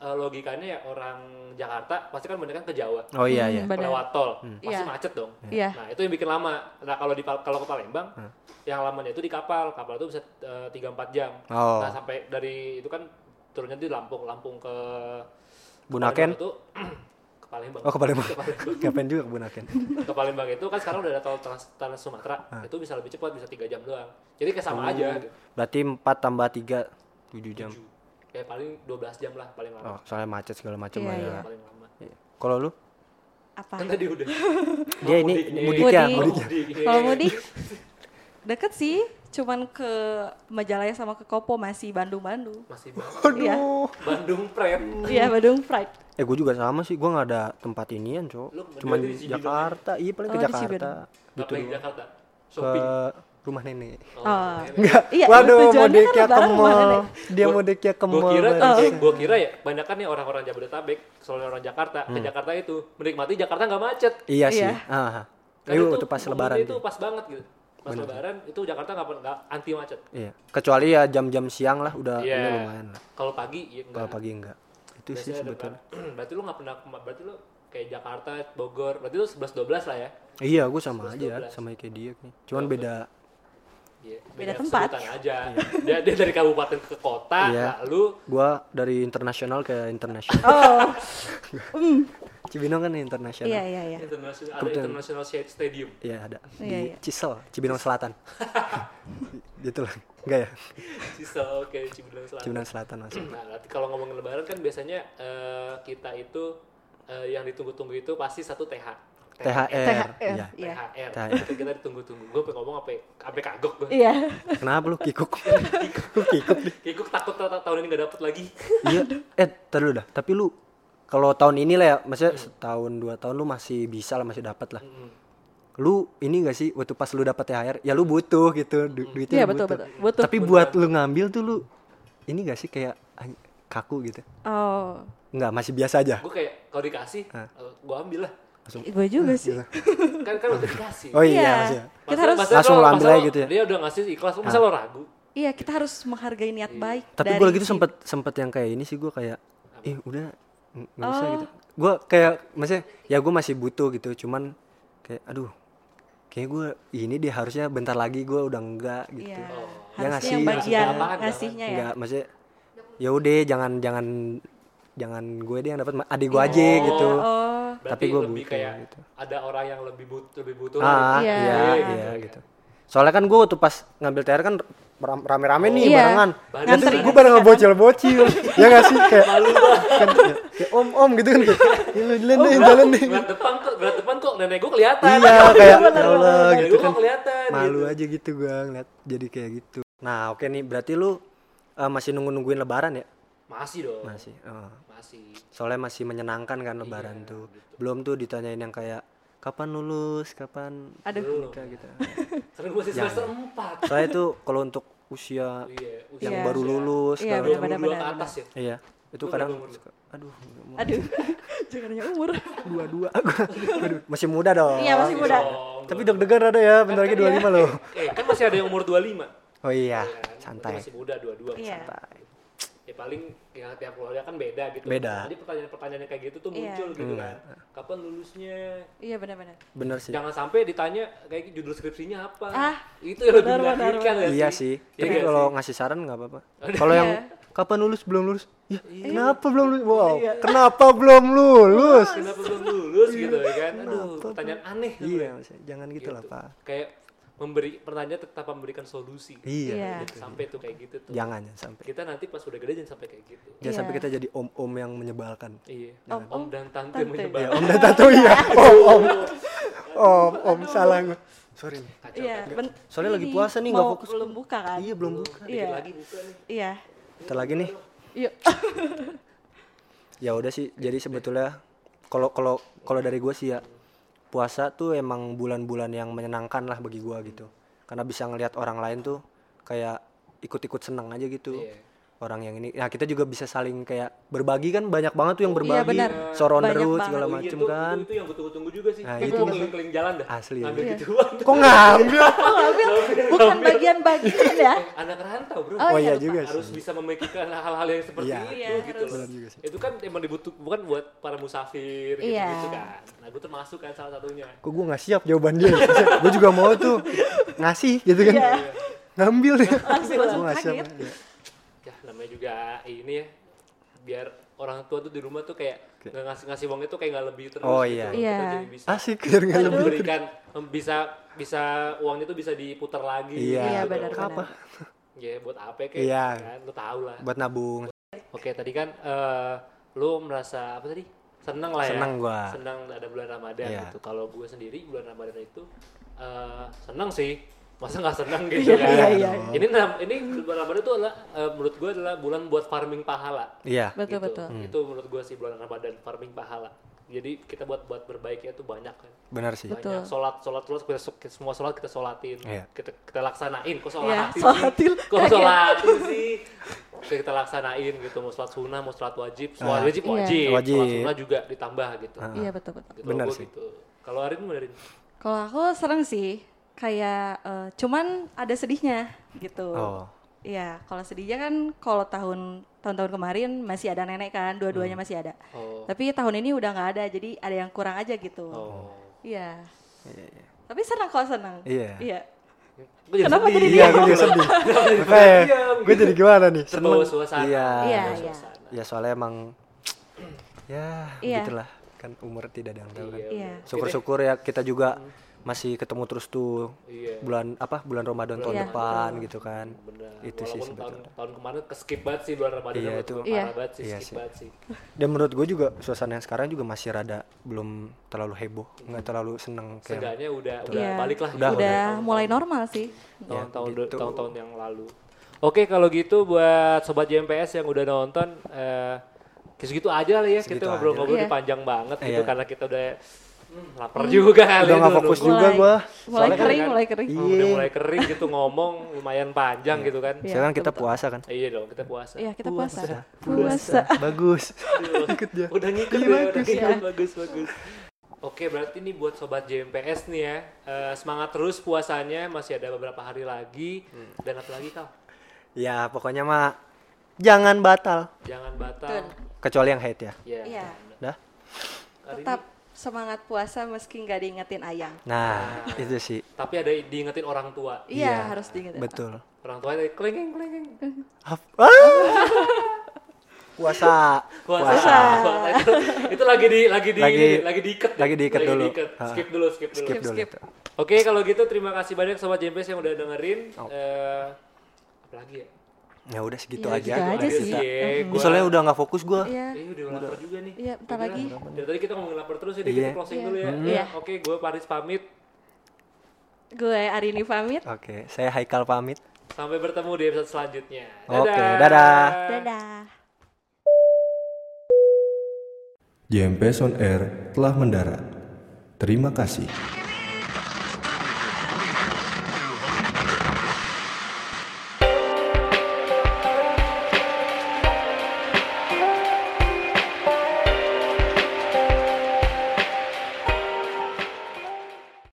[SPEAKER 2] eh, logikanya ya orang Jakarta pasti kan mendekat ke Jawa
[SPEAKER 3] Oh iya iya.
[SPEAKER 4] Benar.
[SPEAKER 2] lewat tol pasti
[SPEAKER 4] Iya.
[SPEAKER 2] macet dong
[SPEAKER 4] Iya.
[SPEAKER 2] nah itu yang bikin lama nah kalau di Pal- kalau ke Palembang
[SPEAKER 3] Hmm.
[SPEAKER 2] yang lamanya itu di kapal kapal itu bisa tiga empat jam
[SPEAKER 3] Oh.
[SPEAKER 2] nah sampai dari itu kan turunnya di Lampung Lampung ke Palembang
[SPEAKER 3] Bunaken?
[SPEAKER 2] itu ke Palembang
[SPEAKER 3] Oh ke Palembang.
[SPEAKER 2] Hmm. ke Palembang
[SPEAKER 3] Ngapain juga ke Bunaken?
[SPEAKER 2] ke Palembang itu kan sekarang udah ada tol trans, Trans Sumatera
[SPEAKER 3] Hmm.
[SPEAKER 2] itu bisa lebih cepat bisa tiga jam doang jadi kayak sama aja gitu.
[SPEAKER 3] Berarti 4 tambah 3 7 jam.
[SPEAKER 2] kayak paling 12 jam lah paling lama
[SPEAKER 3] Oh, soalnya macet segala macam
[SPEAKER 4] Iya,
[SPEAKER 3] lah
[SPEAKER 4] iya.
[SPEAKER 3] ya.
[SPEAKER 2] paling lama
[SPEAKER 3] Iya. Kalau lu?
[SPEAKER 4] Apa?
[SPEAKER 2] kan tadi udah
[SPEAKER 3] Dia ini
[SPEAKER 2] mudiknya.
[SPEAKER 3] mudiknya,
[SPEAKER 4] Mudik.
[SPEAKER 3] mudiknya.
[SPEAKER 4] Kalau mudik deket sih, cuman ke Majalaya sama ke Kopo masih Bandung-Bandung.
[SPEAKER 2] masih Bandung,
[SPEAKER 4] Iya.
[SPEAKER 2] Bandung Prep
[SPEAKER 4] Iya, Bandung Pride.
[SPEAKER 3] Eh gue juga sama sih, gue nggak ada tempat inian cok
[SPEAKER 2] Lu
[SPEAKER 3] Cuman
[SPEAKER 2] berarti di Cibinong
[SPEAKER 3] Jakarta, iya paling ke
[SPEAKER 4] Oh, di
[SPEAKER 3] Jakarta
[SPEAKER 2] gitu di Jakarta
[SPEAKER 3] Ke
[SPEAKER 2] shopping
[SPEAKER 3] rumah nenek
[SPEAKER 4] Oh.
[SPEAKER 3] Enggak,
[SPEAKER 4] Iya,
[SPEAKER 3] waduh
[SPEAKER 4] tujuannya kan
[SPEAKER 3] mudiknya ke
[SPEAKER 4] lebaran ya. rumah
[SPEAKER 3] mall
[SPEAKER 4] nenek. Oh,
[SPEAKER 3] Dia mudiknya ke
[SPEAKER 2] gue
[SPEAKER 3] mall
[SPEAKER 2] kira
[SPEAKER 3] Bang.
[SPEAKER 2] gue kira ya banyak kan nih orang-orang Jabodetabek soalnya orang Jakarta
[SPEAKER 3] Hmm.
[SPEAKER 2] ke Jakarta itu menikmati Jakarta nggak macet
[SPEAKER 3] Iya sih,
[SPEAKER 4] Iya.
[SPEAKER 3] ah,
[SPEAKER 2] Karena
[SPEAKER 3] Ayo, itu pas
[SPEAKER 2] momen
[SPEAKER 3] lebaran
[SPEAKER 2] itu
[SPEAKER 3] tuh.
[SPEAKER 2] pas banget gitu pas lebaran itu Jakarta nggak nggak anti macet
[SPEAKER 3] Iya. Kecuali ya jam-jam siang lah, udah
[SPEAKER 2] Iya.
[SPEAKER 3] ini Ah, lumayan lah
[SPEAKER 2] kalau pagi ya
[SPEAKER 3] Kalau
[SPEAKER 2] enggak
[SPEAKER 3] pagi enggak Itu
[SPEAKER 2] Biasanya
[SPEAKER 3] sih
[SPEAKER 2] ada
[SPEAKER 3] sebetulnya
[SPEAKER 2] kan. berarti lu nggak pernah kema- berarti lu kayak Jakarta, Bogor, berarti lu 11 12 lah ya.
[SPEAKER 3] Iya, gue sama aja
[SPEAKER 2] 11.
[SPEAKER 3] sama kayak dia nih. Cuman beda
[SPEAKER 2] Iya,
[SPEAKER 4] Beda tempat.
[SPEAKER 2] sebutan aja. Dia, dia dari kabupaten ke kota,
[SPEAKER 3] Iya.
[SPEAKER 2] lalu
[SPEAKER 3] Gua dari internasional ke internasional.
[SPEAKER 4] Oh,
[SPEAKER 3] Cibinong kan internasional.
[SPEAKER 4] iya iya iya.
[SPEAKER 2] internasional ada
[SPEAKER 3] Kebetulan.
[SPEAKER 2] international Shade stadium.
[SPEAKER 3] Iya, ada.
[SPEAKER 4] Iya,
[SPEAKER 3] Di
[SPEAKER 4] iya.
[SPEAKER 3] Cisel, Cibinong Selatan. gitu lah. Enggak ya?
[SPEAKER 2] Sisa oke Cibinong Selatan.
[SPEAKER 3] Cibinong Selatan masuk.
[SPEAKER 2] Nah, nanti kalau ngomongin lebaran kan biasanya eh, kita itu eh, yang ditunggu-tunggu itu pasti satu TH.
[SPEAKER 3] THR. Iya.
[SPEAKER 4] Iya.
[SPEAKER 2] THR.
[SPEAKER 3] THR.
[SPEAKER 2] Itu kan kita ditunggu-tunggu. Gue pengen ngomong apa apa kagok gue.
[SPEAKER 4] Iya.
[SPEAKER 3] Kenapa lu kikuk? lu kikuk. deh.
[SPEAKER 2] Kikuk takut ta- ta- tahun ini gak dapet lagi.
[SPEAKER 3] Iya. Eh, tar dulu dah. Tapi lu kalau tahun ini lah ya, maksudnya setahun dua tahun lu masih bisa lah, masih dapat lah. Lu ini gak sih waktu pas lu dapat THR, ya lu butuh gitu du- duitnya.
[SPEAKER 4] Iya,
[SPEAKER 3] lu
[SPEAKER 4] betul,
[SPEAKER 3] butuh.
[SPEAKER 4] betul. Butuh.
[SPEAKER 3] Tapi buat lu ngambil tuh lu ini gak sih kayak ay- kaku gitu?
[SPEAKER 4] Oh,
[SPEAKER 3] Enggak, masih biasa aja.
[SPEAKER 2] Gue kayak kalau dikasih, gue ambil lah.
[SPEAKER 4] gue
[SPEAKER 3] Ah,
[SPEAKER 4] juga sih.
[SPEAKER 2] Kan kan udah dikasih.
[SPEAKER 3] Iya. Oh iya,
[SPEAKER 4] Iya.
[SPEAKER 3] masih.
[SPEAKER 4] Kita
[SPEAKER 2] Maksudnya-
[SPEAKER 4] harus-
[SPEAKER 2] maksudnya
[SPEAKER 3] Langsung
[SPEAKER 2] kalau-
[SPEAKER 3] lo ambil
[SPEAKER 2] masa
[SPEAKER 3] aja gitu ya?
[SPEAKER 2] Dia udah ngasih ikhlas, masa lo ragu?
[SPEAKER 4] Iya, kita harus menghargai niat baik.
[SPEAKER 3] Tapi
[SPEAKER 4] dari
[SPEAKER 3] gue lagi tuh
[SPEAKER 4] si-
[SPEAKER 3] sempet sempet yang kayak ini sih gue kayak ih udah n- nggak
[SPEAKER 4] Oh.
[SPEAKER 3] bisa gitu. Gue kayak maksudnya ya gue masih butuh gitu cuman kayak aduh kayak gue ini dia harusnya bentar lagi gue udah enggak gitu.
[SPEAKER 4] Iya.
[SPEAKER 3] Ya
[SPEAKER 4] Harusnya
[SPEAKER 3] ngasih
[SPEAKER 4] yang
[SPEAKER 3] ya.
[SPEAKER 4] bagian
[SPEAKER 2] Nggak apaan, nggak
[SPEAKER 4] ngasihnya ya.
[SPEAKER 3] Enggak maksudnya ya udah jangan jangan jangan gue deh yang dapat ma- adik gue aja gitu.
[SPEAKER 4] Oh,
[SPEAKER 2] Berarti
[SPEAKER 3] Tapi gua
[SPEAKER 2] lebih
[SPEAKER 3] butuh
[SPEAKER 2] kayak
[SPEAKER 3] gitu.
[SPEAKER 2] ada orang yang lebih butuh lebih butuh.
[SPEAKER 3] Ah
[SPEAKER 4] Iya.
[SPEAKER 3] iya iya, gitu. Soalnya kan gue waktu pas ngambil TR kan ram- rame-rame nih
[SPEAKER 4] Iya.
[SPEAKER 3] barengan.
[SPEAKER 2] Bareng.
[SPEAKER 3] Terus
[SPEAKER 4] Nganterin.
[SPEAKER 3] gue bareng ngebocil-bocil. ya gak sih kayak kan, ya, kayak om-om gitu kan kayak. "Ya lu jalan deh, jalan deh.
[SPEAKER 2] Berat depan kok, berat depan kok nenek gue kelihatan.
[SPEAKER 3] Iya kayak ya
[SPEAKER 2] Bener,
[SPEAKER 3] Allah
[SPEAKER 2] bener.
[SPEAKER 3] gitu
[SPEAKER 2] Nenek
[SPEAKER 3] kan.
[SPEAKER 2] gua kelihatan.
[SPEAKER 3] Malu aja gitu gue ngeliat jadi kayak gitu. Nah, oke nih berarti lu eh, masih nunggu-nungguin lebaran ya?
[SPEAKER 2] Masih dong.
[SPEAKER 3] Masih. eh.
[SPEAKER 2] Masih.
[SPEAKER 3] soalnya masih menyenangkan kan lebaran tuh. Belum tuh ditanyain yang kayak kapan lulus, kapan
[SPEAKER 4] Aduh.
[SPEAKER 3] nikah gitu. Iya.
[SPEAKER 2] Karena gue masih semester 4.
[SPEAKER 3] Soalnya itu kalau untuk usia
[SPEAKER 2] Iya.
[SPEAKER 3] yang
[SPEAKER 4] Iya.
[SPEAKER 3] baru lulus
[SPEAKER 4] Iya,
[SPEAKER 3] kalau-
[SPEAKER 2] Udah
[SPEAKER 4] benar,
[SPEAKER 2] dua
[SPEAKER 4] benar,
[SPEAKER 2] ke atas ya.
[SPEAKER 3] Iya, itu
[SPEAKER 2] Lu
[SPEAKER 3] kadang
[SPEAKER 2] berapa umur lu?
[SPEAKER 3] suka, aduh nggak mau.
[SPEAKER 4] aduh. Jangan hanya umur.
[SPEAKER 3] dua-dua Gua- aduh, masih muda dong.
[SPEAKER 4] Iya, masih
[SPEAKER 2] Oh,
[SPEAKER 4] muda. iya.
[SPEAKER 2] Dong.
[SPEAKER 3] Tapi deg-degan ada ya, bentar lagi 25 loh.
[SPEAKER 2] Eh, kan masih ada yang umur 25.
[SPEAKER 3] Oh iya,
[SPEAKER 2] Kan? Berarti
[SPEAKER 3] santai.
[SPEAKER 2] Masih muda dua-dua.
[SPEAKER 4] Iya.
[SPEAKER 2] Ya paling ya, tiap keluarga kan beda gitu.
[SPEAKER 3] Beda. Hmm.
[SPEAKER 2] Jadi pertanyaan-pertanyaan kayak gitu tuh
[SPEAKER 4] Iya.
[SPEAKER 2] muncul gitu kan. Kapan lulusnya?
[SPEAKER 4] Iya, benar-benar.
[SPEAKER 3] Bener sih.
[SPEAKER 2] Jangan sampai ditanya kayak judul skripsinya apa.
[SPEAKER 4] Ah,
[SPEAKER 2] itu yang lebih
[SPEAKER 4] benar, benar,
[SPEAKER 2] menyakitkan ya
[SPEAKER 3] Iya sih.
[SPEAKER 2] Iya
[SPEAKER 3] Tapi
[SPEAKER 2] nggak
[SPEAKER 3] kalau ngasih saran nggak apa-apa. Kalau yang
[SPEAKER 4] Iya.
[SPEAKER 3] kapan lulus belum lulus? Ya, kenapa belum lulus? Wow, kenapa belum lulus?
[SPEAKER 2] sih? Kenapa belum lulus gitu ya kan? Aduh, pertanyaan aneh. ya. tuh.
[SPEAKER 3] Iya, maksudnya jangan gitu lah, Pak.
[SPEAKER 2] Kayak memberi pertanyaan tetap memberikan solusi.
[SPEAKER 3] Iya. Ya.
[SPEAKER 4] Iya.
[SPEAKER 2] Jangan Sampai tuh kayak gitu tuh.
[SPEAKER 3] Jangan jangan sampai.
[SPEAKER 2] Kita nanti pas udah gede jangan sampai kayak gitu.
[SPEAKER 3] Jangan
[SPEAKER 4] Iya.
[SPEAKER 3] sampai kita jadi om-om yang menyebalkan.
[SPEAKER 2] Iya.
[SPEAKER 4] Om,
[SPEAKER 2] Om,
[SPEAKER 4] om,
[SPEAKER 2] dan tante,
[SPEAKER 4] tante.
[SPEAKER 2] menyebar.
[SPEAKER 3] Om dan tato iya. Om om. Om om salah gue. Sorry nih.
[SPEAKER 2] Kacau.
[SPEAKER 4] Iya, ben-
[SPEAKER 3] Soalnya lagi
[SPEAKER 4] ini
[SPEAKER 3] puasa nih, nggak
[SPEAKER 4] mau
[SPEAKER 3] fokus.
[SPEAKER 4] Belum buka kan?
[SPEAKER 3] Iya belum buka.
[SPEAKER 4] Iya.
[SPEAKER 2] Lagi buka nih.
[SPEAKER 4] Iya.
[SPEAKER 3] Bentar lagi nih.
[SPEAKER 4] Yuk.
[SPEAKER 3] Ya udah sih. Jadi sebetulnya kalau kalau kalau dari gue sih ya puasa tuh emang bulan-bulan yang menyenangkan lah bagi gue gitu. Karena bisa ngelihat orang lain tuh kayak ikut-ikut seneng aja gitu.
[SPEAKER 2] Iya.
[SPEAKER 3] Orang yang ini, nah kita juga bisa saling kayak berbagi kan banyak banget tuh yang berbagi,
[SPEAKER 4] Iya, benar.
[SPEAKER 3] soron
[SPEAKER 4] Banyak
[SPEAKER 3] terus
[SPEAKER 4] banget.
[SPEAKER 2] Oh
[SPEAKER 3] segala
[SPEAKER 2] iya,
[SPEAKER 3] macem
[SPEAKER 2] tuh,
[SPEAKER 3] kan.
[SPEAKER 2] Itu, itu yang gue tunggu-tunggu juga sih.
[SPEAKER 3] Nah,
[SPEAKER 2] Kayak
[SPEAKER 3] itu
[SPEAKER 2] gue keliling-keliling jalan dah.
[SPEAKER 3] Asli ya.
[SPEAKER 2] Ambil
[SPEAKER 4] Iya.
[SPEAKER 2] gituan.
[SPEAKER 3] Kok ngambil?
[SPEAKER 4] Oh, ambil. Bukan bagian bagian ya.
[SPEAKER 2] Anak rantau bro.
[SPEAKER 4] Oh,
[SPEAKER 3] Oh,
[SPEAKER 4] iya,
[SPEAKER 3] iya
[SPEAKER 4] lupa.
[SPEAKER 3] juga
[SPEAKER 2] harus
[SPEAKER 3] sih.
[SPEAKER 2] bisa memikirkan hal-hal yang seperti
[SPEAKER 3] Iya.
[SPEAKER 2] itu
[SPEAKER 4] Iya,
[SPEAKER 2] gitu
[SPEAKER 4] harus.
[SPEAKER 2] loh.
[SPEAKER 3] Benar juga sih.
[SPEAKER 2] Itu kan emang dibutuhkan buat para musafir gitu,
[SPEAKER 4] Iya.
[SPEAKER 2] gitu kan. Nah, gue termasuk kan salah satunya.
[SPEAKER 3] kok gue nggak siap jawaban dia gue juga mau tuh ngasih gitu kan
[SPEAKER 4] Iya.
[SPEAKER 3] ngambil dia
[SPEAKER 4] Langsung
[SPEAKER 3] gue nggak siap
[SPEAKER 4] kaget.
[SPEAKER 3] Iya.
[SPEAKER 2] Ya, namanya juga ini ya. Biar orang tua tuh di rumah tuh kayak nggak ngasih-ngasih uangnya tuh kayak nggak lebih terus
[SPEAKER 3] Oh,
[SPEAKER 2] gitu.
[SPEAKER 3] iya.
[SPEAKER 2] Kita
[SPEAKER 4] Iya.
[SPEAKER 2] jadi bisa
[SPEAKER 3] asik biar nggak lebih
[SPEAKER 2] memberikan mem- bisa bisa uangnya tuh bisa diputar lagi.
[SPEAKER 3] Iya.
[SPEAKER 4] Iya,
[SPEAKER 2] gitu.
[SPEAKER 4] benar-benar.
[SPEAKER 2] Ya, buat apa kayak
[SPEAKER 3] Iya.
[SPEAKER 2] kan lu tahu lah.
[SPEAKER 3] buat nabung
[SPEAKER 2] Oke, tadi kan eh, lu merasa apa tadi? Senang lah ya.
[SPEAKER 3] Senang gua.
[SPEAKER 2] Senang ada bulan Ramadan
[SPEAKER 3] Iya.
[SPEAKER 2] gitu. Kalau gue sendiri bulan Ramadan itu eh, senang sih. Masa nggak senang gitu kan?
[SPEAKER 4] iya, iya.
[SPEAKER 2] Ini ini bulan Ramadan itu adalah eh, menurut gue adalah bulan buat farming pahala.
[SPEAKER 3] iya
[SPEAKER 4] Betul
[SPEAKER 2] Gitu.
[SPEAKER 4] betul.
[SPEAKER 2] Itu menurut gue sih bulan Ramadan farming pahala. Jadi kita buat buat berbaiknya itu banyak kan.
[SPEAKER 3] benar sih
[SPEAKER 4] Betul.
[SPEAKER 2] Banyak sholat, sholat, sholat, kita, semua sholat kita sholatin,
[SPEAKER 3] Iya.
[SPEAKER 2] kita, kita laksanain, kok sholat
[SPEAKER 4] Iya,
[SPEAKER 2] sih?
[SPEAKER 4] sholatin.
[SPEAKER 2] kok
[SPEAKER 4] Kaget.
[SPEAKER 2] sholatin sih? Kita, kita laksanain gitu, mau sholat sunnah, mau sholat wajib, sholat wajib
[SPEAKER 4] Iya.
[SPEAKER 2] wajib,
[SPEAKER 3] Wajib.
[SPEAKER 2] sholat sunnah juga ditambah gitu.
[SPEAKER 4] Iya, betul betul.
[SPEAKER 2] gitu
[SPEAKER 3] Benar
[SPEAKER 2] gua
[SPEAKER 3] sih.
[SPEAKER 2] Gitu. Kalau Arin gimana Arin?
[SPEAKER 4] Kalau aku serem sih, kayak eh, cuman ada sedihnya gitu.
[SPEAKER 3] Oh.
[SPEAKER 4] Iya, kalau sedihnya kan kalau tahun tahun-tahun kemarin masih ada nenek kan, dua-duanya masih ada.
[SPEAKER 2] Oh.
[SPEAKER 4] Tapi tahun ini udah nggak ada, jadi ada yang kurang aja gitu.
[SPEAKER 2] Oh.
[SPEAKER 4] Iya. Tapi senang kok senang.
[SPEAKER 3] Iya.
[SPEAKER 4] Iya.
[SPEAKER 2] Gua jadi
[SPEAKER 4] Kenapa
[SPEAKER 2] sedih.
[SPEAKER 4] jadi
[SPEAKER 3] Iya, gue jadi sedih.
[SPEAKER 2] iya,
[SPEAKER 3] Eh, gue jadi gimana nih?
[SPEAKER 2] Terbawa
[SPEAKER 3] Seneng.
[SPEAKER 2] suasana.
[SPEAKER 3] Iya.
[SPEAKER 4] Iya,
[SPEAKER 2] Terbawa
[SPEAKER 4] iya.
[SPEAKER 2] suasana.
[SPEAKER 3] Ya soalnya emang ya
[SPEAKER 4] Iya.
[SPEAKER 3] gitulah kan umur tidak ada yang tahu kan.
[SPEAKER 4] Iya.
[SPEAKER 3] Syukur-syukur ya kita juga masih ketemu terus tuh
[SPEAKER 2] Iya.
[SPEAKER 3] bulan apa bulan Ramadan tahun
[SPEAKER 4] Iya,
[SPEAKER 3] depan gitu kan.
[SPEAKER 2] Benar.
[SPEAKER 3] Itu
[SPEAKER 2] Walaupun
[SPEAKER 3] sih
[SPEAKER 2] tahun,
[SPEAKER 3] sebetulnya.
[SPEAKER 2] tahun kemarin keskip banget sih bulan Ramadan.
[SPEAKER 3] Iya,
[SPEAKER 2] Iya,
[SPEAKER 3] itu.
[SPEAKER 2] itu.
[SPEAKER 4] Iya.
[SPEAKER 2] Parah banget sih,
[SPEAKER 3] Iya
[SPEAKER 2] skip
[SPEAKER 3] sih.
[SPEAKER 2] banget sih.
[SPEAKER 3] Dan menurut gue juga suasana yang sekarang juga masih rada belum terlalu heboh, nggak terlalu seneng kayak
[SPEAKER 2] Seenggaknya udah, udah gitu.
[SPEAKER 4] Iya.
[SPEAKER 2] balik lah.
[SPEAKER 4] Udah, mulai normal sih.
[SPEAKER 2] tahun-tahun
[SPEAKER 3] gitu.
[SPEAKER 2] tahun-tahun yang lalu. Oke kalau gitu buat sobat JMPS yang udah nonton eh segitu aja lah ya
[SPEAKER 3] Segitu
[SPEAKER 2] kita ngobrol-ngobrol
[SPEAKER 4] aja.
[SPEAKER 2] ini panjang banget gitu
[SPEAKER 3] Iya.
[SPEAKER 2] karena kita udah hmm, lapar juga kali
[SPEAKER 3] udah nggak
[SPEAKER 2] itu,
[SPEAKER 3] fokus
[SPEAKER 2] nunggu.
[SPEAKER 3] juga gua.
[SPEAKER 4] Mulai
[SPEAKER 2] Soalnya kan
[SPEAKER 4] kering,
[SPEAKER 2] kan-
[SPEAKER 4] mulai kering.
[SPEAKER 2] Oh, udah mulai kering gitu ngomong lumayan panjang gitu kan.
[SPEAKER 4] Iya,
[SPEAKER 3] Sekarang kita puasa kan.
[SPEAKER 2] Iya dong kita puasa.
[SPEAKER 4] Iya, kita puasa. Puasa.
[SPEAKER 3] Bagus.
[SPEAKER 2] Aduh, Udah ngikut
[SPEAKER 3] Iya,
[SPEAKER 2] ya, udah ngikut. bagus bagus. Oke, berarti ini buat sobat JMPS nih ya. Eh, semangat terus puasanya, masih ada beberapa hari lagi.
[SPEAKER 3] Hmm.
[SPEAKER 2] Dan apa lagi kau?
[SPEAKER 3] Ya pokoknya mah jangan batal
[SPEAKER 2] Jangan batal.
[SPEAKER 4] Betul.
[SPEAKER 3] kecuali yang hate ya.
[SPEAKER 2] Iya.
[SPEAKER 4] Iya.
[SPEAKER 3] Dah.
[SPEAKER 2] Hari
[SPEAKER 4] Tetap
[SPEAKER 2] ini-
[SPEAKER 4] semangat puasa meski nggak diingetin ayang.
[SPEAKER 3] Nah, itu sih.
[SPEAKER 2] tapi ada diingetin orang tua.
[SPEAKER 4] Iya, harus diingetin.
[SPEAKER 3] Betul.
[SPEAKER 2] Orang tua ada klengeng klengeng.
[SPEAKER 3] Hap- Ah! Puasa.
[SPEAKER 2] Puasa. Puasa. itu, itu lagi di lagi di
[SPEAKER 3] Lagi-
[SPEAKER 2] lagi diikat.
[SPEAKER 3] lagi diikat dulu. Ha.
[SPEAKER 2] Skip dulu, skip dulu.
[SPEAKER 3] Skip dulu
[SPEAKER 4] skip.
[SPEAKER 3] itu.
[SPEAKER 2] Oke, kalau gitu terima kasih banyak sobat JMPS yang udah dengerin.
[SPEAKER 3] Oh.
[SPEAKER 2] Eh apa lagi ya?
[SPEAKER 3] Ya udah segitu
[SPEAKER 4] Ya,
[SPEAKER 3] aja.
[SPEAKER 4] gitu aja
[SPEAKER 3] Udah
[SPEAKER 4] sih.
[SPEAKER 3] kita.
[SPEAKER 2] Iya,
[SPEAKER 3] Gua
[SPEAKER 2] gua-
[SPEAKER 3] soalnya udah nggak fokus gua.
[SPEAKER 4] Iya,
[SPEAKER 2] Eh, udah lapar juga nih.
[SPEAKER 4] iya, bentar lagi.
[SPEAKER 2] Dari tadi kita ngomongin lapar terus ya, dikit
[SPEAKER 3] Iya.
[SPEAKER 2] closing dulu ya.
[SPEAKER 4] Iya.
[SPEAKER 2] Oke, gue Paris pamit.
[SPEAKER 4] Gue Arini pamit.
[SPEAKER 3] Oke, saya Haikal pamit.
[SPEAKER 2] Sampai bertemu di episode selanjutnya.
[SPEAKER 3] Oke, dadah.
[SPEAKER 4] Dadah.
[SPEAKER 1] JMPS On Air telah mendarat. Terima kasih.